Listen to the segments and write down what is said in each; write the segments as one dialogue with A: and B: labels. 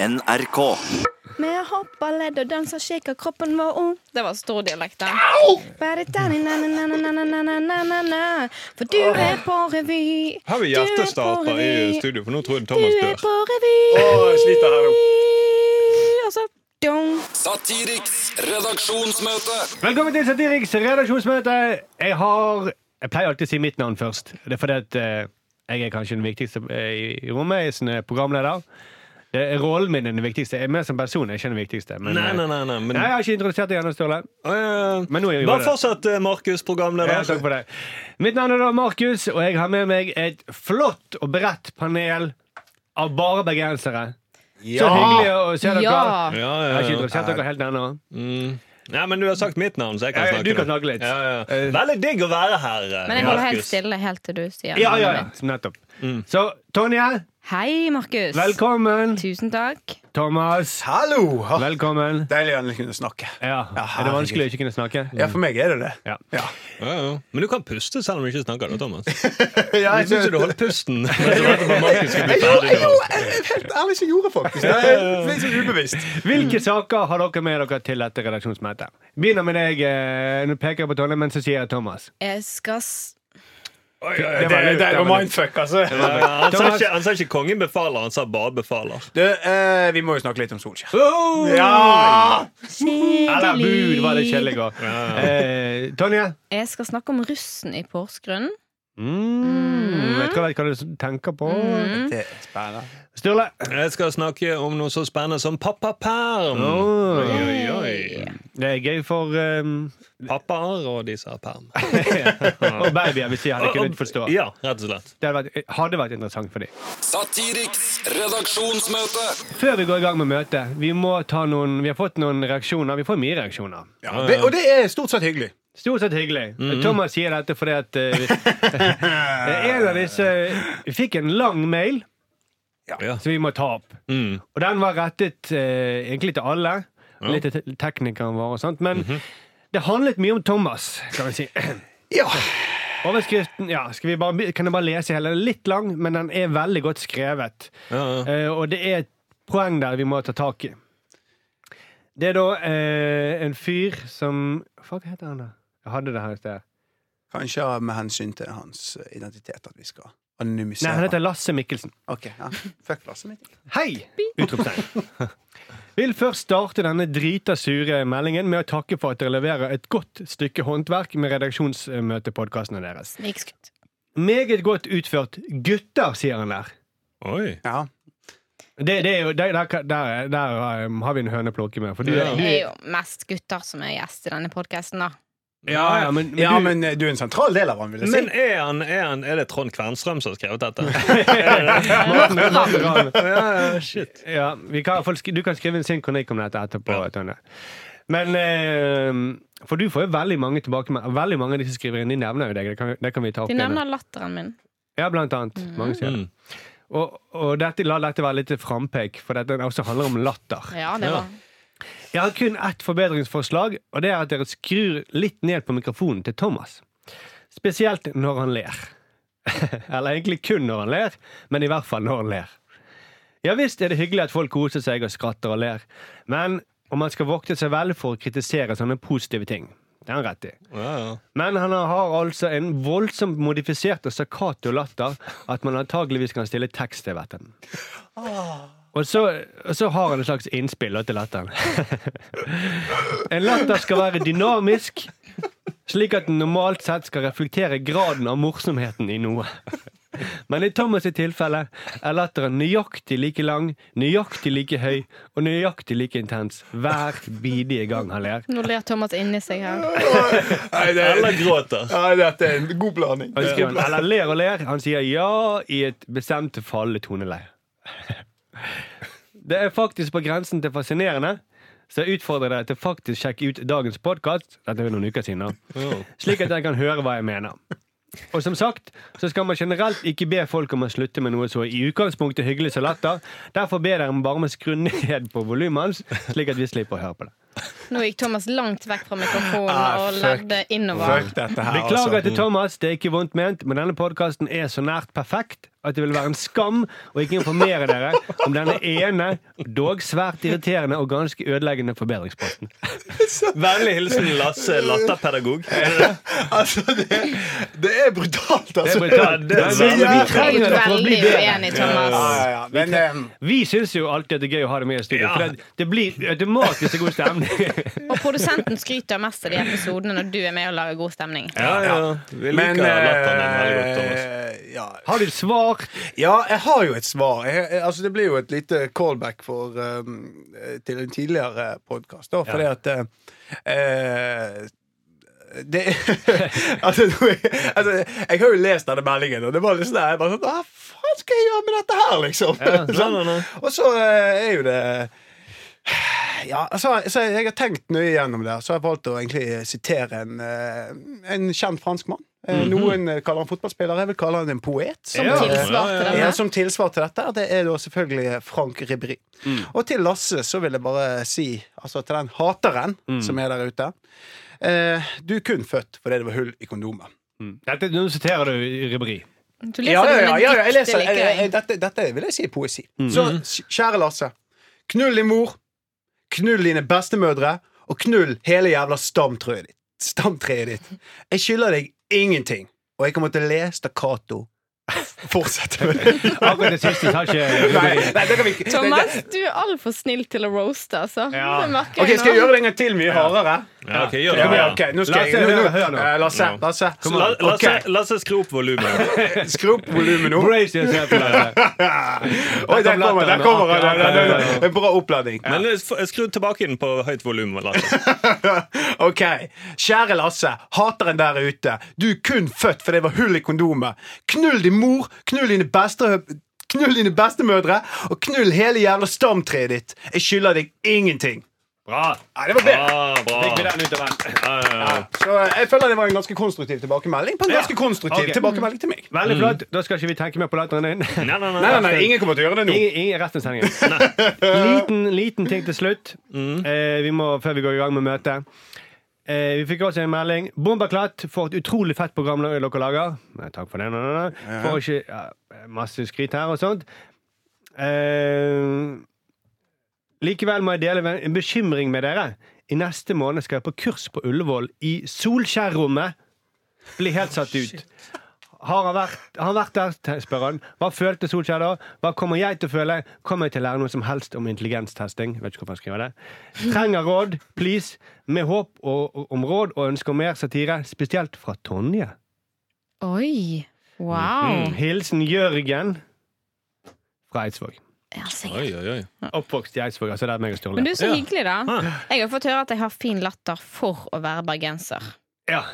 A: NRK.
B: Vi hoppa, ledd og dansa, shaka kroppen vår ung.
C: Det var stor dialekt, da.
B: Bare ta din na-na-na-na-na-na-na-na. For du er på revy.
D: Har vi
B: Du er på
D: hjertestarter
B: revy.
D: i studio? For nå tror jeg
B: Du
D: Thomas
B: er
D: dør.
B: på revy.
E: Å, jeg sliter her nå.
B: Og så dong.
F: Satiriks redaksjonsmøte.
E: Velkommen til Satiriks redaksjonsmøte. Jeg har Jeg pleier alltid å si mitt navn først. Det er fordi at eh, jeg er kanskje den viktigste eh, i i rommet. Jeg er sånn, eh, programleder. Det er rollen min er den viktigste. Jeg er mer som person jeg er ikke den viktigste. Men,
D: Nei,
E: eh,
D: nei, nei. nei, men,
E: Nei, jeg har ikke introdusert deg ennå, Sturle.
D: Å, ja.
E: Men nå er jeg jo
D: Bare
E: det.
D: fortsett, eh, Markus,
E: Ja,
D: programleder.
E: takk for det. Mitt navn er da Markus, og jeg har med meg et flott og bredt panel av bare bergensere. Så hyggelig å se dere.
C: Ja.
D: Ja,
E: Jeg
D: ja,
E: har ikke
D: ja.
E: introdusert dere helt ennå.
D: Nei, men du har sagt mitt navn, så jeg kan
E: Ja, ja,
D: snakke.
E: du kan
D: nå.
E: snakke litt.
D: Ja, ja.
E: Eh,
D: Veldig digg å være her, eh,
C: Men jeg holder helt
D: Markus.
C: stille helt til du sier
E: Ja, ja, ja.
C: navnet mitt.
E: Nettopp. Så Tonje,
C: Hei, Markus.
E: velkommen.
C: Tusen takk.
E: Thomas,
G: Hallo! Ha-
E: velkommen.
G: Deilig å kunne snakke.
E: Ja. Er det
G: herregud.
E: vanskelig å ikke kunne snakke?
G: Ja, for meg er det det.
E: Ja.
G: Ja.
D: Ja, ja. Men du kan puste selv om du ikke snakker, da, Thomas.
G: Ja,
D: Jeg syns du holdt pusten. mens du ventet på at Markus skulle bli ferdig nå.
G: Helt ærlig, så gjorde jeg faktisk det. Det er litt sånn ubevisst.
E: Mm. Hvilke saker har dere med dere til dette redaksjonsmøtet? Begynner med deg. eh, Nå peker jeg på Tonje, men så sier jeg Thomas.
C: Jeg skal s...
E: Det var litt- det var litt-
G: mindfuck, altså.
D: Ja, ja, Han sa
E: Thomas-
D: ikke, han sa ikke 'kongen befaler', han sa bare 'befaler'.
G: Du, eh, vi må jo snakke litt om Solskjær.
D: Oh!
G: Ja!
E: Eller bu, det var litt kjedelig i går. Eh, Tonje?
C: Jeg skal snakke om russen i Porsgrunn.
E: Mm. Vet du hva, vet du hva du tenker på?
G: Det er spennende.
E: Sturle?
D: Jeg skal snakke om noe så spennende som pappaperm.
E: Oh.
D: Oi,
E: Oi.
D: oi, oi.
E: Mm. Det er gøy for um,
D: Pappaer og de som har perm.
E: Og babyer, hvis de hadde kunnet forstå. Det
D: Ja, rett og slett.
E: hadde vært, eh, hadde vært interessant for dem.
F: Satiriks redaksjonsmøte.
E: Før vi går i gang med møtet, vi må ta noen Vi har fått noen reaksjoner. Vi får mye reaksjoner.
G: Ja, det, og det er stort sett hyggelig.
E: Stort sett hyggelig.
D: Mm-hmm.
E: Thomas sier dette fordi at eh, En av disse Vi fikk en lang mail
D: Ja.
E: som vi må ta opp.
D: Mm.
E: Og den var rettet eh, egentlig til alle. og Litt til teknikeren vår og sånt. Men
D: Mm-hmm.
E: det handlet mye om Thomas, kan vi si.
G: Ja.
E: Overskriften ja, skal vi bare, be- kan jeg bare lese hele. Den er Litt lang, men den er veldig godt skrevet.
D: Ja, ja.
E: Eh, og det er et poeng der vi må ta tak i. Det er da eh, en fyr som Hva heter han, da? Jeg hadde det her i sted.
G: Kanskje med hensyn til hans identitet at vi skal
E: Nei, han
G: anonymisere.
E: heter Lasse Mikkelsen.
G: Ok, ja. Fuck plassen min.
E: Hei! Utropstegn. Vil først starte denne drita sure meldingen med å takke for at dere leverer et godt stykke håndverk med redaksjonsmøtepodkastene deres.
C: Snikskryt.
E: Meget godt utført. Gutter, sier han der.
D: Oi.
G: Ja.
E: Det, det er jo, der, der, der, der um, har vi en høne å plukke med. For du,
D: Ja.
E: du,
C: Det er jo mest gutter som er gjest i denne podkasten, da.
E: ja, ja, men, men
G: ja,
E: du,
G: men eh, du er en sentral del av han, vil jeg si.
D: Men er, han, er, han, er det Trond Kvernstrøm som har skrevet dette?
E: Morten er veteran.
D: ja, shit.
E: ja, vi kan, folk, sk- du kan skrive en sin kronikk om dette etterpå, Tonje. Men eh, For du får jo veldig mange tilbakemeldinger. Veldig mange av de som skriver inn, de nevner jo deg. Det kan, vi- det kan vi ta opp
C: De
E: igjen.
C: nevner latteren min.
E: Ja, blant annet. Mange sier det.
D: Mm.
E: Og, og dette, la dette være litt frampek, for dette også handler om latter.
C: Ja, det var
E: Jeg har kun ett forbedringsforslag, og det er at dere skrur litt ned på mikrofonen til Thomas. Spesielt når han ler. Eller egentlig kun når han ler, men i hvert fall når han ler. Ja visst er det hyggelig at folk koser seg og skratter og ler, men og man skal vokte seg vel for å kritisere sånne positive ting. Det har han rett i.
D: Ja, ja.
E: Men han har altså en voldsomt modifisert og staccato latter at man antageligvis kan stille tekst til vetten. Og så, og så har han et slags innspill da til latteren. En latter skal være dynamisk, slik at den normalt sett skal reflektere graden av morsomheten i noe. Men i Thomas' sitt tilfelle er latteren nøyaktig like lang, nøyaktig like høy og nøyaktig like intens hver bidige gang han ler.
C: Nå ler Thomas inni seg her.
G: Nei, det
D: Eller gråter.
G: Nei, dette er en god blanding.
E: Han skriver, Eh, eller ler og ler. Han sier ja i et bestemt fallende toneleie. Det er faktisk på grensen til fascinerende, så jeg utfordrer deg til faktisk sjekke ut dagens podkast. Dette er jo noen uker siden, da.
D: Ja.
E: Slik at dere kan høre hva jeg mener. Og som sagt, så skal man generelt ikke be folk om å slutte med noe så i utgangspunktet hyggelig som latter. Derfor ber dere om bare om å skru ned på volumet hans, slik at vi slipper å høre på det.
C: Nå gikk Thomas langt vekk fra mikrofonen
G: Ah,
C: og
G: fuck.
C: levde innover.
G: Fuck dette her,
E: Beklager
G: altså.
E: til Thomas, det er ikke vondt ment, men denne podkasten er så nært perfekt at det vil være en skam å ikke informere dere om denne ene, dog svært irriterende og ganske ødeleggende forbedringsposten.
D: Vennlig hilsen Lasse Latterpedagog. Er det det?
G: Altså, det, det er brutalt, altså.
E: Det er brutalt.
D: det er
E: Men vi- vi
C: Jeg er
E: trenger
C: jo
E: det for å bli
C: veldig
E: bedre.
C: uenig,
G: Ja,
C: Thomas.
G: ja, ja. Men eh,
E: Vi syns jo alltid at det er gøy å ha det med i studio,
D: Ja.
E: for det, det blir automatisk en god stemning.
C: Og produsenten skryter mest av de episodene når du er med og lager god stemning.
D: Ja, eh, ja. Vi
G: men,
D: liker latteren din veldig godt, Thomas.
G: eh, ja.
E: Har du et svar?
G: ja, jeg har jo et svar. Jeg, jeg, altså, det blir jo et lite callback for, um, eh, til en tidligere podkast. Fordi at eh, eh, det, altså, nå er- altså, jeg har jo lest denne meldingen, og det var litt sånn der, jeg bare sånn, Hva faen skal jeg gjøre med dette her, liksom? sånn.
D: nei, nei.
G: Og så eh, er jo det ja, altså, så jeg har tenkt nøye gjennom det, så har jeg valgt å egentlig sitere en, eh, en kjent franskmann. Eh, Noen eh, kaller han fotballspiller, jeg vil kalle han en poet. Som,
C: Som
E: Ja.
C: tilsvar til
G: ja,
C: denne.
G: som tilsvar til dette, det er da selvfølgelig Frank Ribéry. Og til Lasse så vil jeg bare si, altså til den hateren som er der ute eh, Du er kun født fordi det var hull i kondomet.
E: Dette, nå siterer du Ribri.
C: Du leser det som et
G: jeg
C: dikt.
G: leser,
C: det
G: jeg, jeg,
C: liker jeg.
G: dette, dette vil jeg si er poesi. Så kjære Lasse. Knull din mor, knull dine bestemødre, og knull hele jævla stamtreet ditt. Stamtreet ditt. Jeg skylder deg ingenting, og jeg kommer til å le stakkato. Fortsett med det.
E: Akkurat det siste tar ikke
G: Nei,
E: Ribéry.
G: nei, det kan vi ikke.
C: Thomas, du er altfor snill til å roaste, altså.
E: Ja.
C: Det merker
G: Ok,
C: jeg
G: Skal jeg
C: nå.
G: gjøre det en gang til mye hardere?
D: Ja, ok, gjør
G: Ja,
D: det.
G: ja, ok, nå skal
E: Lasse,
G: jeg nå- nå-
E: hør nå, hør nå.
G: Eh, Lasse,
D: Ja.
G: Lasse.
D: La, Lasse,
G: Ok,
D: Lasse, skru opp volumet.
G: Skru opp volumet nå.
E: Brace yourself, Lasse.
G: Oi, der kommer der kommer han!
E: Ja, ja, ja, ja.
G: Det er En bra oppladning.
D: Men eh, f- skru tilbake inn på høyt volum. Lasse.
G: Ok, kjære Lasse, hateren der ute. Du er kun født fordi det var hull i kondomet. Knull din mor, knull dine beste... Knull dine bestemødre, og knull hele jævla stamtreet ditt. Jeg skylder deg ingenting.
E: Bra.
G: Nei, det var bedre.
D: Ah, bra.
E: Fikk vi den ut av verden.
D: Ja, ja, ja.
G: Så eh, jeg føler det var en ganske konstruktiv tilbakemelding på en ganske konstruktiv
E: Ok.
G: tilbakemelding til meg.
E: Veldig flott. Da skal ikke vi tenke mer på latteren din.
D: Nei, nei,
G: Nei,
D: nei.
G: nei, nei, ingen kommer til å gjøre det nå.
E: Ingen, ingen resten av sendingen. Liten, liten ting til slutt
G: Mm.
E: eh, vi må, før vi går i gang med møtet. Eh, vi fikk også en melding. 'Bombaklatt for et utrolig fett program dere lager'. Nei, takk for det. Nei, nei, nei. Får ikke ja, masse skryt her og sånt. Eh, likevel må jeg dele en bekymring med dere. I neste måned skal jeg på kurs på Ullevål i Solskjærrommet. Blir helt satt ut. Har han vært, har han vært der, te- spør han. Hva følte Solskjær da? Hva kommer jeg til å føle? Kommer jeg til å lære noe som helst om intelligenstesting? Vet ikke hvorfor han skriver det. Trenger råd, please. Med håp og, og- om råd og ønske om mer satire, spesielt fra Tonje.
C: Oi.
D: Mm.
C: Wow.
G: Mm.
E: Hilsen Jørgen fra Eidsvåg.
C: Ja, sikkert.
D: Oi, oi, oi.
E: Oppvokst i Eidsvåg, altså der meg og
C: Men
E: Sturle.
C: du, så
D: Ja.
C: hyggelig, da. Jeg har fått høre at jeg har fin latter for å være bergenser.
E: Ja.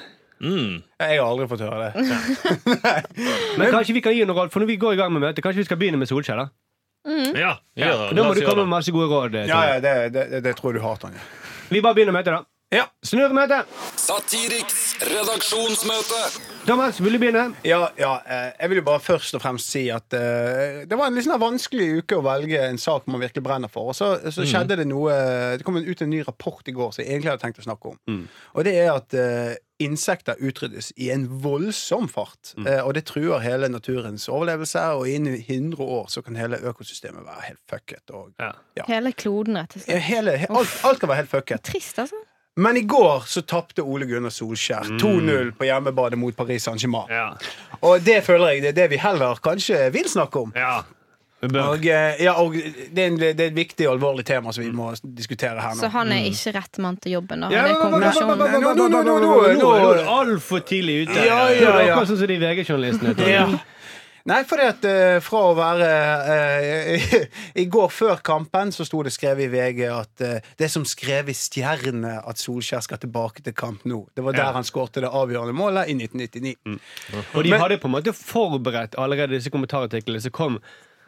D: Mm.
G: Jeg har aldri fått høre det.
E: Men kanskje vi kan gi noen råd, for når vi går i gang med møtet, kanskje vi skal begynne med Solskjær, da?
D: Ja, gjør
E: For
D: det. La
E: da må
D: oss
E: du
D: gjøre
E: komme
D: det.
E: med masse gode råd. eh,
G: Ja,
E: Tonje.
G: ja, det, det, det tror jeg du har, Tonje.
E: Vi bare begynner møtet, da.
G: Ja.
E: Snurr møtet!
F: Satiriks redaksjonsmøte.
E: Thomas, vil du begynne?
G: Ja, ja, eh, jeg vil jo bare først og fremst si at eh, det var en litt sånn vanskelig uke å velge en sak man virkelig brenner for. Og så, så skjedde det noe eh, Det kom en- ut en ny rapport i går som jeg egentlig hadde tenkt å snakke om. Og det er at eh, insekter utryddes i en voldsom fart. eh, og det truer hele naturens overlevelse, og innen 100 år så kan hele økosystemet være helt fucket. Og,
E: Ja.
G: Ja. Eh.
C: Hele kloden, rett og
G: Ja,
C: slett.
G: hele, he- alt, alt kan være helt fucket.
C: Trist, altså.
G: Men i går så tapte Ole Gunnar Solskjær 2-0 på hjemmebane mot Paris Saint-Germain.
E: Ja.
G: Og det føler jeg det er det vi heller kanskje vil snakke om.
E: ja.
G: Og, eh, ja, og det, er en, det er et viktig og alvorlig tema som vi må diskutere her
C: Så
G: nå.
C: han
E: Mm.
C: er ikke rett mann til jobben, da.
E: Ja,
C: Han er
E: men- men- men- men-
C: konklusjonen.
E: men- men-
G: Nå- nå- nå- nå- nå- nå-
E: nå er du altfor tidlig ute.
G: Ja, ja,
E: Nå er du
G: ja.
E: Akkurat sånn som de VG-journalistene. Tonje.
G: Ja. Nei, fordi at eh, fra å være eh, I går før kampen så sto det skrevet i VG at eh, det som skrev i Stjerne at Solskjær skal tilbake til kamp nå. Det var der han skårte det avgjørende målet i 1999.
E: Og de
G: Men-
E: hadde på en måte forberedt allerede disse kommentarartiklene som kom.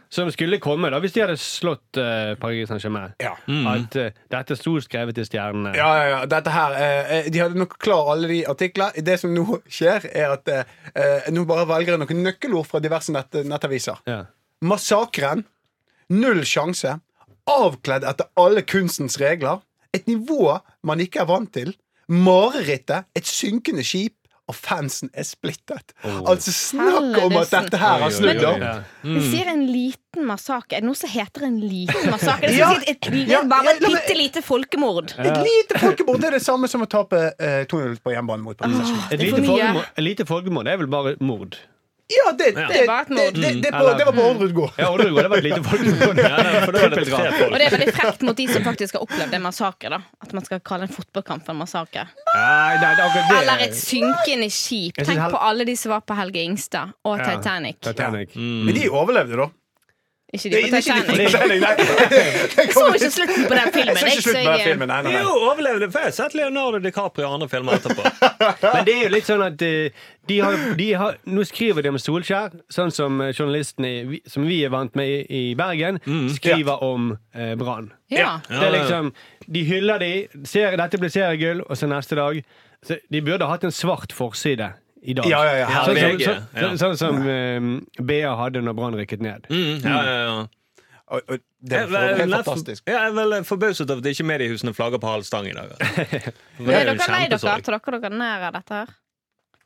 E: Som skulle komme da hvis de hadde slått eh, Paris Saint-Germain.
G: Ja.
E: At eh, dette sto skrevet i stjernene.
G: Ja, ja, ja, dette her eh, eh, De hadde nok klar alle de artikler. Det som nå skjer, er at eh, eh, nå bare velger jeg noen nøkkelord fra diverse nett, nettaviser.
E: Ja.
G: Massakren. Null sjanse. Avkledd etter alle kunstens regler. Et nivå man ikke er vant til. Marerittet, et synkende skip, og fansen er splittet. Altså, snakk om at
C: Helvesen.
G: dette her har snudd
E: Oi, oi, oi.
G: opp!
E: Ja.
C: Du sier en liten massakre. Er det noe som heter en liten massakre? Det
G: Ja.
C: er et, et,
G: Ja,
C: bare et
G: ja, men-
C: bitte lite folkemord.
G: Et lite folkemord det er det samme som å tape eh, 2-0 på hjemmebane mot Paris Saint-Germain.
E: Et
C: Det er for
E: lite
C: mye.
E: folkemord- et lite folkemord er vel bare mord.
G: Ja, det, det, det,
C: Det var et
G: det,
C: mord.
G: det, det, på,
E: Eller-
G: det var på Orderud gård.
E: Ja, Oldegård, det var et lite folkemord.
D: Ja, nei, for da er det
E: Trippeldrap.
D: tre folk.
C: Og det er veldig frekt mot de som faktisk har opplevd en massakre. da At man skal kalle en fotballkamp en massakre.
E: Nei, nei, det er akkurat det.
C: Eller et synkende skip.
E: Jeg synes
C: Tenk
E: hel-
C: på alle de som var på Helge Ingstad og
E: Ja.
C: Titanic.
E: Titanic.
G: Men de overlevde, da.
C: Ikke
G: Det
C: de
G: er
C: på
G: ikke de
C: Titanic.
G: fordeling, nei. Jeg
C: Jeg så ikke slutten på den filmen.
G: så ikke slutt på den
C: jeg- eh,
G: filmen. Nei, nei,
D: Jo,
G: nei.
D: overlevde. For jeg har sett Leonardo DiCaprio i andre filmer etterpå.
E: Men det er jo litt sånn at eh, de har, de har, Nå skriver de om Solskjær, sånn som eh, journalisten i, vi- som vi er vant med i, i Bergen, skriver om eh, Brann.
C: Ja.
E: Det er liksom, de hyller de, ser, dette blir seriegull, og så neste dag så De burde hatt en svart forside i dag.
G: Ja, ja, ja,
E: Sånn,
D: ja,
E: som-
D: VG,
E: sånn,
D: ja.
E: sånn, sånn som eh, BA hadde når Brann rykket ned.
D: Mm, ja, ja, ja.
G: Og- og Det
D: Jeg,
G: var
D: jeg,
G: helt
D: jeg,
G: fantastisk.
D: jeg er vel forbauset over at ikke mediehusene flagger på halv stang i dag. Men
C: Er
D: jo en
C: dere lei dere?
D: kjempesorg.
C: Tar dere dere nær av dette her?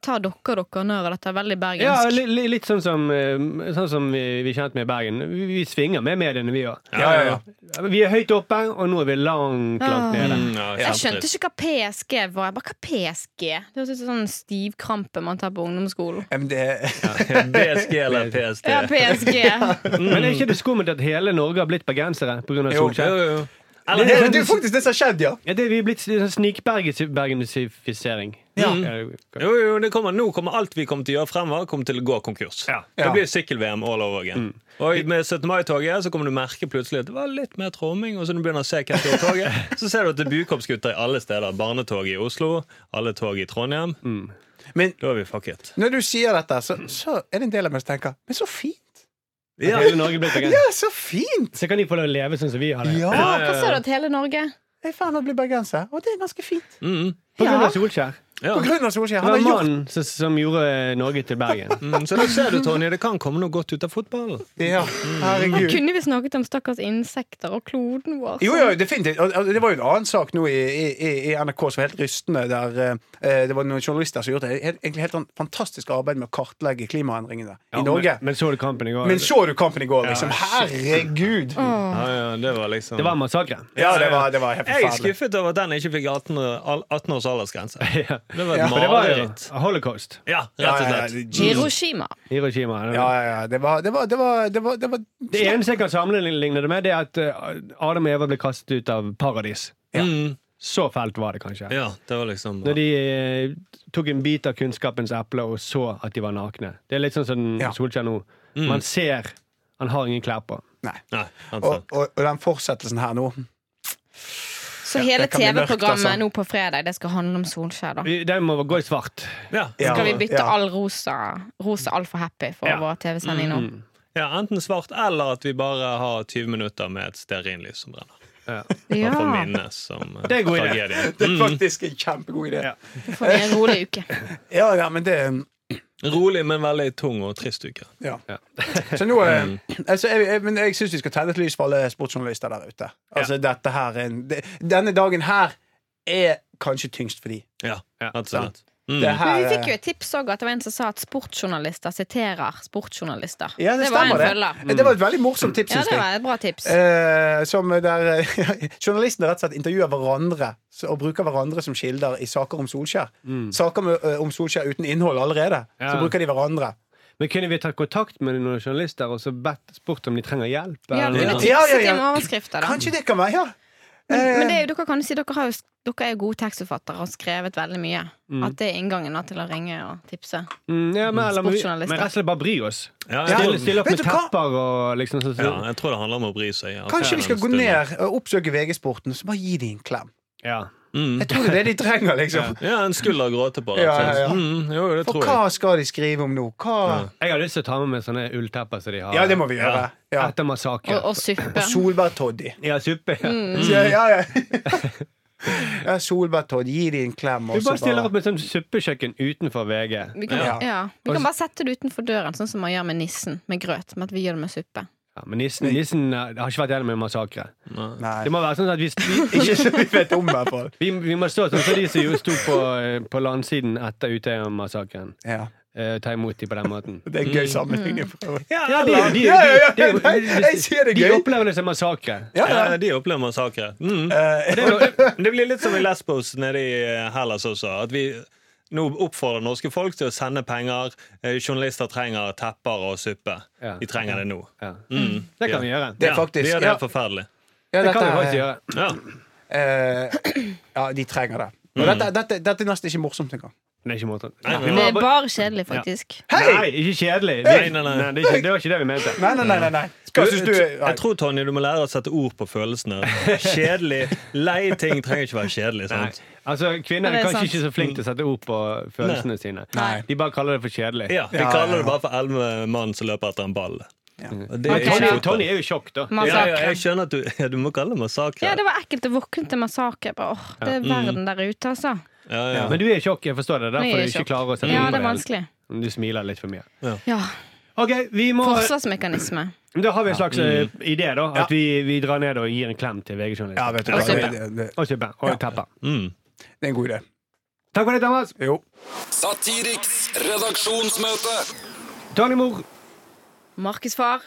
C: Tar dere dere nær av dette? Veldig
E: Ja,
C: bergensk.
E: li, li, Litt sånn som, eh, sånn som vi, vi er kjent med i Bergen. Vi, vi svinger med mediene, vi òg.
G: Ja, ja, ja.
E: Vi er høyt oppe, og nå er vi langt, langt nede.
D: Mm, ja,
C: Jeg
D: kjempesorg.
C: skjønte ikke hva PSG var. Jeg bare, hva PSG? Det høres ut som sånn stivkrampe man tar på ungdomsskolen.
G: Ja, men det-
D: BSG eller PST?
C: Ja, PSG.
E: Men er ikke det skummelt at hele Norge har blitt bergensere pga.
G: Jo.
E: Solskjær?
D: Eller,
G: Det det er jo faktisk det som har skjedd, ja.
E: Ja, det, vi er blitt sånn snikbergenifisering.
G: Ja. Mm.
E: Ja.
D: jo, jo, det kommer, nå kommer alt vi kommer til å gjøre fremover, kommer til å gå konkurs.
E: Ja.
D: Det blir sykkel-VM all over again.
G: Mm.
D: Og med 17. mai-toget så kommer du merke plutselig at det var litt mer tromming, og så når du begynner å se hvem som er i toget, så ser du at det er bukoppsgutter i alle steder. Barnetoget i Oslo, alle tog i Trondheim.
G: Mm. Men
D: Da er vi fucket.
G: når du sier dette, så, så er det en del av meg som tenker Men så fint!
D: Ja.
E: Hele Norge er blitt bergenser.
G: Ja, så fint!
E: Så kan de få lov å leve sånn som vi har det.
G: Ja!
C: Hva sa du at hele Norge?
G: Jeg er i ferd med å bli bergenser, og det er ganske fint.
D: Mm,
E: På grunn
C: Ja.
E: av Solskjær.
D: ja.
G: På grunn av Solskjær.
E: Det
G: Han
E: var
G: har gjort
E: mannen som, som gjorde Norge til Bergen.
D: Mm, så da ser du, Tonje, det kan komme noe godt ut av fotballen.
G: det. Ja. Herregud.
C: Kunne vi snakket om stakkars insekter og kloden vår?
G: Jo, jo, definitivt. Og- og Det var jo en annen sak nå i, i, i NRK som var helt rystende, der eh, det var noen journalister som gjorde et helt, egentlig helt sånn fantastisk arbeid med å kartlegge klimaendringene i Norge.
E: Men, men så du kampen i går?
G: Men så du kampen i går, liksom? Herregud!
D: Ja, ja, det var liksom
E: Det var en massakre.
G: Ja, det var, det var helt
D: Jeg er
G: forferdelig.
D: skuffet over at den ikke fikk 18, al- 18 års aldersgrense. Det var et
G: Ja, for
E: For det var jo
D: mareritt.
E: holocaust.
D: Ja,
G: Ja,
D: rett og
G: ja, ja,
D: slett.
G: Jesus.
C: Hiroshima.
E: Hiroshima.
G: ja, ja, ja. Det var Det var, det var, det var, det var
E: Det eneste jeg kan sammenligne det med, det er at eh, Adam og Eva ble kastet ut av paradis.
D: Mm,
E: Så fælt var det kanskje.
D: ja, det var liksom
E: Når de eh, tok en bit av kunnskapens eple og så at de var nakne. Det er litt sånn som
G: Ja. Mm.
E: Solskjær nå. Man ser han har ingen klær på.
G: Nei.
D: Nei, han
G: Og,
D: sa.
G: og, og den fortsettelsen her nå
C: Så
G: Ja,
C: hele
G: det kan bli mørkt,
C: TV-programmet
G: altså.
C: nå på fredag, det skal handle om Solskjær, da.
E: Vi- Den må gå i svart.
D: Ja.
G: Ja.
C: Skal vi bytte
G: Ja.
C: all rosa Rosa all for happy for
E: Ja.
C: vår TV-sending nå?
G: Mm.
D: ja, Enten svart eller at vi bare har 20 minutter med et stearinlys som brenner. Bare for å
C: Ja.
D: minnes som eh,
E: Det er en god idé.
D: tragedien.
G: Det er faktisk en kjempegod idé.
E: Mm. Ja.
C: Så får vi en rolig uke.
G: Ja, ja, men det
D: Rolig, men veldig tung og trist uke.
G: Ja.
E: Ja. Mm.
G: så nå eh, altså, jeg, jeg, Men jeg syns vi skal tenne et lys for alle sportsjournalister der ute. Altså, dette her er en, det, denne dagen her er kanskje tyngst for de.
D: Ja,
E: Ja,
D: rett og slett. Mm.
G: Det
C: Men
G: her,
C: vi fikk jo
G: eh,
C: et tips òg, at det var en som sa at sportsjournalister siterer sportsjournalister.
G: eh, ja, det,
C: var en
G: stemmer, det.
C: følger.
G: Eh, Det var et veldig morsomt tips,
C: Ja,
G: syns
C: det
G: jeg.
C: var et bra tips.
G: Eh, som der eh, Journalistene rett og slett intervjuer hverandre så- og bruker hverandre som kilder i saker om Solskjær. Saker med, eh, om Solskjær uten innhold allerede. Så
E: Mm. Ja.
G: bruker de hverandre.
E: Men kunne vi tatt kontakt med noen journalister og så bedt spurt om de trenger hjelp?
C: Ja,
E: eller
C: kunne
E: noe?
G: Ja,
C: tipset
G: ja, ja.
C: om overskrifter, da.
G: Kanskje eh, det kan være, ja.
C: Men, men det er jo, dere kan jo si dere, har jo, dere er jo gode tekstforfattere og har skrevet veldig mye.
G: Mm.
C: At det er inngangen da, til å ringe og tipse.
E: Mm, ja, men, eller, men, vi- men
C: Sportsjournalister.
E: rett og slett bare bry oss.
D: Ja, jeg,
E: Stille,
D: tror,
E: stille opp
G: Vet
E: med
G: du hva?
E: tepper og liksom sånn.
D: ja,
E: Så,
D: jeg tror det handler om å bry seg. at
G: Kanskje vi skal
D: det er
G: gå
D: en stund.
G: ned og oppsøke VG-sporten, så bare gi de en klem.
E: ja.
D: Mm.
G: Jeg tror det er det de trenger, liksom.
D: Ja, en skulder å gråte på. Rett
G: Ja,
D: og slett.
G: ja, ja.
D: Mm, jo, det
G: For
D: tror jeg.
G: hva skal de skrive om nå? Hva?
E: Jeg har lyst til å ta med meg sånne ulltepper som de har
G: Ja, det må vi gjøre. Ja.
E: etter massakren.
C: Og, Mm. og suppe.
G: Solbærtoddy.
E: Ja, suppe. Ja.
G: Ja, ja, ja. ja Solbærtoddy. Gi de en klem.
E: Vi
G: og så
E: bare stiller opp med sånn suppekjøkken utenfor VG.
C: Vi kan,
G: Ja.
C: ja. vi kan bare sette det utenfor døren, sånn som man gjør med nissen med grøt. Med at vi gjør det med suppe.
E: Ja, men nissen,
G: Mm.
E: nissen eh, har ikke vært gjennom en massakre.
G: Nei.
E: Det må være sånn at hvis vi,
G: Ikke så vi vet om, i hvert fall.
E: vi, vi må stå sånn som de som jo sto på, eh, på landsiden etter Utøya-massakren.
G: Ja.
E: Eh, ta imot dem på den måten.
G: Det er en gøy sammenligning. for øvrig.
E: Ja, de, de, de,
G: Ja, ja, ja,
E: de-
G: nei, jeg sier det
E: de
G: gøy.
E: opplever det som massakre.
G: Ja, ja.
D: Ja, de opplever massakre. Mm.
G: Eh,
D: Det, er jo- det blir litt som i Lesbos nede i eh, Hellas også. At vi nå oppfordrer norske folk til å sende penger. Eh, Journalister trenger tepper og suppe.
E: Ja.
D: De trenger det nå.
E: Ja.
D: Mm.
E: Det kan vi gjøre.
G: Det er
D: ja,
G: faktisk-
D: de gjør det
G: ja.
D: helt forferdelig.
G: ja,
E: Det kan vi
G: dette
E: faktisk
G: er-
E: gjøre.
D: Ja.
G: eh, ja, de trenger det. Og dette, dette, dette er nesten ikke morsomt engang.
E: Det er ikke måten.
D: Nei, nei,
E: Vi
C: Det
E: må
C: er
E: bare-
C: bare kjedelig, faktisk.
E: Nei, ikke kjedelig. Vi-
D: Nei, nei, nei.
E: det, er ikke, det var ikke det vi mente.
G: Nei, nei, nei. nei, nei. Hva synes du? er- Nei.
D: Jeg tror Tonje, du må lære å sette ord på følelsene. Kjedelig. Lei ting trenger ikke være kjedelig.
E: Nei.
D: Sant?
E: Altså, Kvinner
C: Det
E: er
C: er
E: kanskje
C: sant.
E: ikke så flinke til å sette ord på følelsene sine.
G: Nei.
E: De bare kaller det for kjedelig.
D: Ja, Vi
G: Ja,
D: kaller
G: ja,
D: det
G: ja.
D: bare for elleve mann som løper etter en ball. Og det
E: Men
D: er
C: Ok,
D: ikke
E: Tonje,
C: da.
D: fotball.
E: Tonje er jo i sjokk, da.
D: Ja, ja,
C: Massakre.
D: jeg skjønner at du, ja, du må kalle det massakre.
C: Ja, det var ekkelt å våkne til massakre. Bare, åh, det er
G: Mm.
C: verden der ute, altså.
D: ja, ja.
E: Men du er i sjokk, jeg forstår det.
C: Nå
E: Derfor
C: er jeg
E: du
C: i
E: ikke
C: sjokk.
E: klarer å sette
C: Ja,
E: ord på
C: det er vanskelig.
E: Du smiler litt for mye.
C: Ja.
E: Ok, vi må
C: Forsvarsmekanisme.
E: Da har vi en slags eh, idé, da. At vi, vi drar ned og gir en klem til VG-journalisten.
G: Ja, vet du
E: og
G: hva.
E: suppe.
G: Det, det,
E: Og suppe. Og teppe.
D: Mm.
G: det er en god idé.
E: Takk for det, Thomas.
G: Jo.
F: Satiriks redaksjonsmøte.
E: Tonje Mor.
C: Markus' far,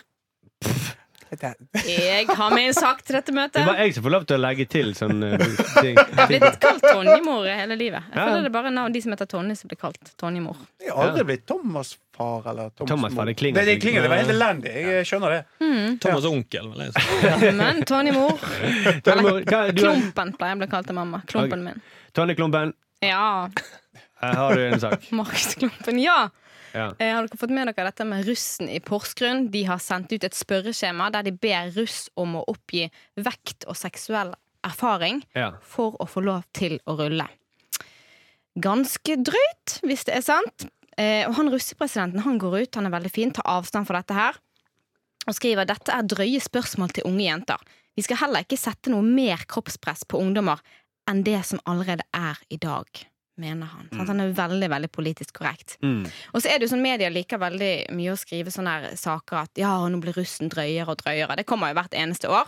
G: Dette-
C: jeg har med en sak til dette
E: Det
C: møtet.
E: var jeg som får lov til å legge til sånn eh, ting.
C: Jeg har blitt kalt Tonjemor hele livet. Jeg
E: Ja.
C: føler det er bare navn de som heter Tonje, som blir kalt Tonjemor.
G: Jeg har aldri blitt Thomas far eller Thomas,
E: Thomas far, det klinger.
G: Det, det klinger, det var helt elendig. Jeg skjønner det.
D: Thomas' onkel, vil jeg si.
C: Men Tonjemor
E: Tonje Mor, hva- du har-
C: Klumpen pleier jeg å bli kalt av mamma. Klumpen min.
E: Tonje Klumpen,
C: Ja.
E: her har du en sak.
C: Markus Klumpen, ja.
E: Ja.
C: Eh, Har dere fått med dere dette med russen i Porsgrunn? De har sendt ut et spørreskjema der de ber russ om å oppgi vekt og seksuell erfaring
E: Ja.
C: for å få lov til å rulle. Ganske drøyt, hvis det er sant. Eh, og han russepresidenten han går ut, han er veldig fin, tar avstand fra dette her. Og skriver dette er drøye spørsmål til unge jenter. Vi skal heller ikke sette noe mer kroppspress på ungdommer enn det som allerede er i dag, mener han. Sant? Han er veldig, veldig politisk korrekt.
E: Mm.
C: Og så er det jo sånn media liker veldig mye å skrive sånne her saker at ja, nå blir russen drøyere og drøyere. Det kommer jo hvert eneste år.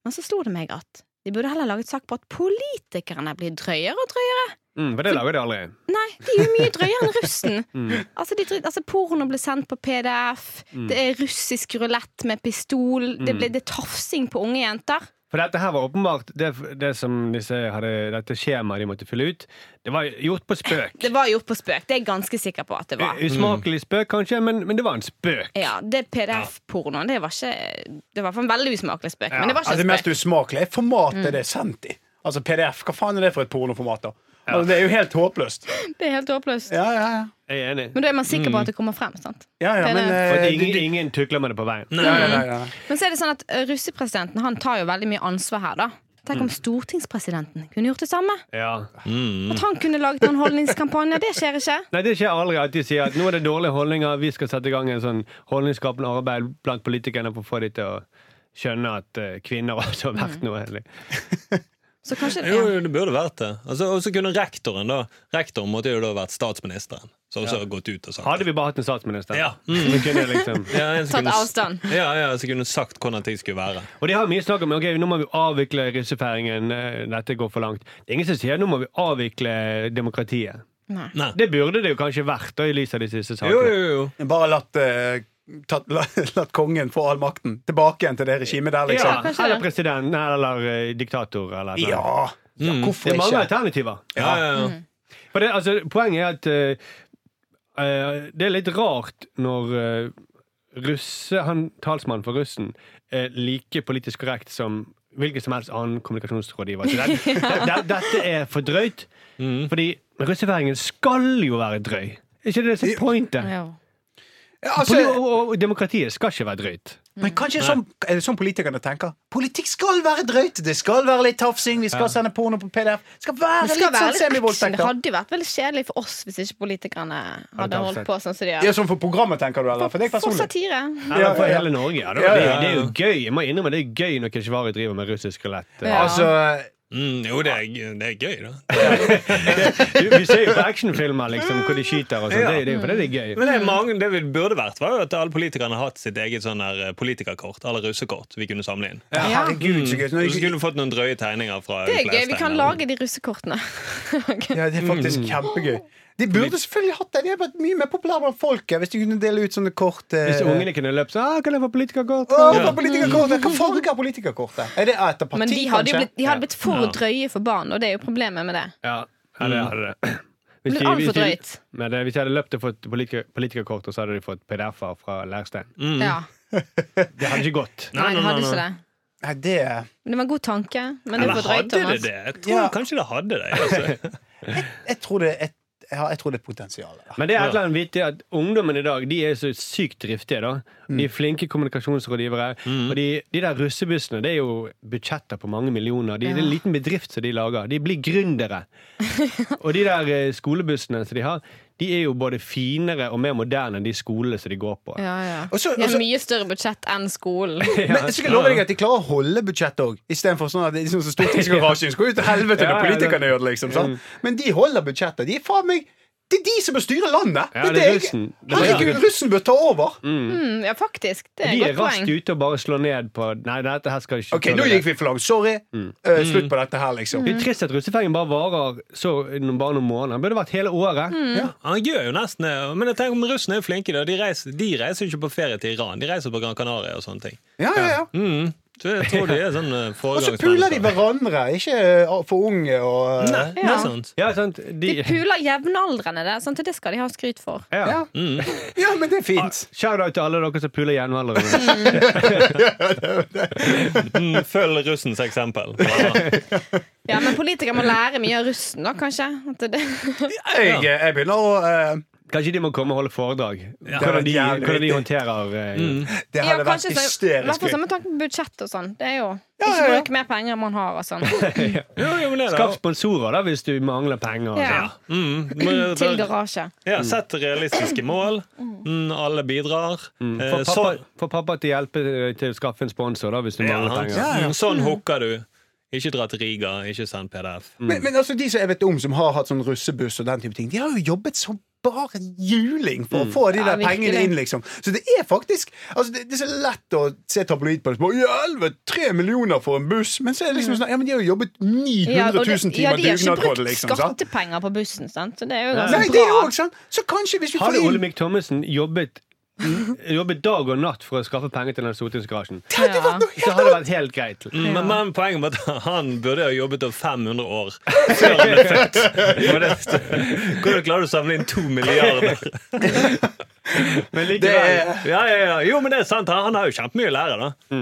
C: Men så slo det meg at de burde heller laget sak på at politikerne blir drøyere og drøyere.
E: Mm, for det lager de aldri.
C: Nei, de er jo mye drøyere enn russen.
G: Mm.
C: Altså, de, dri- altså Porno ble sendt på PDF, det er russisk rulett med pistol,
G: Mm.
C: det, ble, det er tafsing på unge jenter.
E: For dette her var åpenbart det, det som disse hadde, dette skjemaet de måtte fylle ut. Det var gjort på spøk.
C: Det var gjort på spøk, det er jeg ganske sikker på at det var. Eh.
E: U- Usmakelig spøk, kanskje, men, men det var en spøk.
C: Ja, det PDF-pornoen, det var ikke Det var i hvert fall en veldig usmakelig spøk, men det var
G: Altså,
C: ikke
G: det
C: en
G: mest
C: spøk.
G: usmakelige er
C: Mm.
G: formatet det er sendt i. Altså PDF. Hva faen er det for et pornoformat? da? Altså, det er jo helt håpløst.
C: Det er helt håpløst.
G: Ja, ja, ja.
E: Jeg er enig.
C: Men da er man sikker på at det kommer frem. sant?
G: ja, ja
C: Det er
G: men,
C: det.
G: eh,
E: For
G: det-
E: ingen,
G: det-
E: ingen tukler med det på veien.
G: ja, ja, ja, ja.
C: Men så er det sånn at eh, russepresidenten han tar jo veldig mye ansvar her. da. Tenk om stortingspresidenten kunne gjort det samme.
E: Ja.
C: At han kunne laget noen holdningskampanjer. Det skjer ikke.
E: Nei, Det skjer aldri at de sier at nå er det dårlige holdninger, vi skal sette i gang en sånn holdningsskapende arbeid blant politikerne for å få de til å skjønne at eh, kvinner også har
C: Mhm.
E: vært noe. Eller.
C: Så kanskje
D: Jo,
C: ja.
D: jo, det burde vært det. Altså, og så kunne rektoren, da. Rektoren måtte jo da vært statsministeren. Som også har gått ut og sagt
E: Hadde vi bare hatt en statsminister,
D: Ja. Mhm.
E: så kunne liksom
D: ja, en som
C: Tatt
D: kunne-
C: avstand.
D: Ja, ja, som kunne sagt hvordan ting skulle være.
E: Og de har mye snakk om ok, nå må vi avvikle russefeiringen. eh, Dette går for langt. Det er ingen som sier nå må vi avvikle demokratiet.
C: Nei.
D: Nei.
E: Det burde det jo kanskje vært da, i lys av de siste sakene.
D: Jo, jo, jo.
G: Bare latt, eh, tatt, la, latt kongen få all makten tilbake igjen til det regimet der,
E: Ja,
G: liksom.
C: kanskje
E: eller
C: det.
E: president, nei, eller eh, diktator, eller noe.
G: Ja, ja
E: Mm.
G: hvorfor
E: Det er mange
G: ikke?
E: alternativer.
D: Ja, ja, ja.
C: Mm.
E: For det, altså, poenget er at eh, eh, det er litt rart når eh, russe, han talsmannen for russen er like politisk korrekt som hvilken som helst annen kommunikasjonsrådgiver. Så det, det, det, dette er for drøyt, fordi russefeiringen skal jo være drøy. Er ikke det det som er pointet?
C: Ja.
G: Ja,
E: Poli-
G: Altså,
E: og, og demokratiet skal ikke være drøyt.
G: men
C: Mm.
G: kanskje sånn, er det sånn politikerne tenker? Politikk skal være drøyt! Det skal være litt tafsing, vi skal sende porno på PDF. Det skal være
C: Altså, Det, skal
G: litt
C: være
G: sånn
C: litt action. det
G: semivoldtekter.
C: hadde jo vært veldig kjedelig for oss hvis ikke politikerne hadde
E: tatt
C: holdt
E: seg.
C: på sånn som de
G: Ja,
C: gjør.
G: sånn for programmet, tenker du, eller? For deg
C: For
G: personlig?
C: satire.
E: Eller for
G: ja, ja.
E: hele Norge. Ja. Det,
G: Ja, ja,
E: det,
G: ja.
E: det er jo gøy. Jeg må innrømme det er gøy når Keshvari driver med russisk rulett.
C: Ja.
G: Altså,
D: Mm, jo, det er, det er gøy, da.
E: Du, vi ser jo på actionfilmer liksom, hvor de skyter og sånn.
D: Ja.
E: Det, det er jo fordi det er gøy.
D: Men det, er mange, det vi burde vært, var jo at alle politikerne har hatt sitt eget sånn her eh, politikerkort. Alle russekort vi kunne samle inn.
G: Ja, herregud, så gøy. Så
D: Og Så
G: når-
D: kunne du fått noen drøye tegninger fra
C: Det er
D: de
C: gøy.
D: fleste.
C: Vi kan lage de russekortene.
G: Ja, det er faktisk kjempegøy. De burde selvfølgelig hatt det. De hadde vært mye mer populære blant folket hvis de kunne dele ut sånne kort. eh,
E: Hvis ungene kunne løpt så ah, 'Kan jeg få politikerkort?'
G: Å,
E: Ja.
G: hva er politikerkortet? Hva farge er politikerkortet? Er det etter parti,
C: Men de hadde, jo
G: kanskje?
C: blitt, de hadde blitt for drøye for barn, og det er jo problemet med det.
E: Ja, ja, det hadde det.
C: Litt
E: de-
C: altfor
E: de-
C: drøyt.
E: Men det, hvis de hadde løpt og fått politiker, politikerkort, og så hadde de fått PDF-er fra leirstein.
C: Ja.
E: Det hadde ikke gått.
D: Nei,
C: Nei, de
D: nei,
C: hadde
D: nei,
C: ikke
D: nei.
C: det.
G: Nei, det
C: Men det var en god tanke. Men det er
D: Eller
C: for drøyt,
D: hadde det
C: Thomas.
D: det? Jeg tror
G: Ja.
D: kanskje det hadde det. Altså.
G: Jeg tror det er et ja, jeg tror det er potensial der.
E: Men det er et eller annet vittig at ungdommen i dag De er så sykt driftige. da De er flinke kommunikasjonsrådgivere. Og de, de der russebussene Det er jo budsjetter på mange millioner. De, Det er en liten bedrift som de lager. De blir gründere. og de der eh, skolebussene som de har, de er jo både finere og mer moderne enn de skolene som de går på.
C: Ja, ja.
G: Og så-
C: De
G: og så-
C: har mye større budsjett enn skolen.
G: Men så skal jeg love deg at de klarer å holde budsjettet òg, istedenfor sånn at det er sånn som stortingsgarasjen skal ut til helvete
E: Ja,
G: når
E: ja, det-
G: politikerne gjør det, liksom. Sant? Men de holder budsjettet. De er faen meg Det er de som bør styre landet!
E: Ja, det er
G: jeg-
E: russen. Det er
G: Herregud, russen bør ta over!
C: Mm, ja, faktisk. Det er
E: De
C: et
E: er
C: godt
E: raskt
C: poeng.
E: ute og bare slår ned på Nei, dette her skal ikke
G: Ok, nå gikk vi for langt. Sorry.
E: Mm.
G: Eh, slutt på dette her, liksom.
E: Det er trist at russefeiringen bare varer så, bare noen måneder. Den burde vært hele året.
C: Mm.
D: Han gjør jo nesten det. Men jeg tenker om russene er flinke. Da. De reiser de reiser jo ikke på ferie til Iran. De reiser på Gran Canaria og sånne ting.
G: Ja, ja, ja.
D: Mm. Så jeg tror de er sånn eh,
G: Og
E: Mm.
G: så puler de
D: foregangsmennesker.
G: hverandre. Ikke eh, for unge og eh,
D: Nei, det
C: Ja.
D: er sant.
E: Ja, sant? De,
C: De puler jevnaldrende der, sant? det skal de ha skryt for.
E: ja.
G: Ja. ja, men det er fint.
E: Shout-out til alle dere som puler jevnaldrende.
D: Mm, følg russens eksempel. Ja.
C: Ja, Men politikere må lære mye av russen, da, kanskje. At det,
E: Ah,
G: Jeg, jeg begynner å eh,
E: Kanskje de må komme og holde foredrag.
G: det var
E: hvordan, de,
G: jævlig
E: hvordan de
G: viktig.
E: håndterer eh,
G: Det
C: ja,
G: hadde vært
C: kanskje så- I hvert
G: hysterisk
C: fall
G: gøy.
C: samme tanke på budsjett og sånn. Det er jo
G: Ja, ja,
C: Ikke
G: ja.
C: bruke mer penger enn man har og sånn.
D: Jo, jo, men det er det.
E: Skaff sponsorer da hvis du mangler penger.
C: Ja.
D: Mm, men-
C: Til garasje.
D: Ja, Sett realistiske mål. Mm, alle bidrar. Eh,
E: Få pappa,
D: sånn-
E: få pappa til å hjelpe eh, til å skaffe en sponsor da hvis du
D: ja,
E: mangler
D: han,
E: penger.
G: Ja, ja.
D: Mm, sånn hooker du. Ikke dra til Riga, ikke send PDF.
E: Mm.
G: Men, men altså, de som jeg vet om som har hatt sånn russebuss og den type ting, de har jo jobbet som bare juling
E: Mm.
G: for å få de
C: Ja,
G: der
C: virkelig.
G: pengene inn, liksom. Så det er faktisk altså, det, det er så lett å se tabloid på det. som, «Å, I helvete, tre millioner for en buss! Men så er det liksom sånn Ja, men de har jo jobbet 900
C: Mm. Ja, og
G: 000
C: det- ja,
G: timer
C: de har ikke
G: dugnad på
C: brukt
G: det, liksom. Sant?
C: skattepenger på bussen, sant? så det er jo
E: Nei.
C: ganske
G: Nei, det er
C: bra.
G: òg sant. Så kanskje hvis vi får
E: Hadde
G: inn
E: Olemic Thommessen jobbet, jobbet dag og natt for å skaffe penger til den stortingsgarasjen,
G: Det hadde vært noe
E: så hadde det vært helt greit.
D: Mm, men, men poenget med at han burde ha jobbet over 500 år før han ble født. For det- Hvordan klarer du å samle inn to milliarder?
E: Men
G: Det
E: likevel,
G: er,
D: Ja, ja, ja. Jo, men det er sant. Han han har jo kjempemye å lære, da.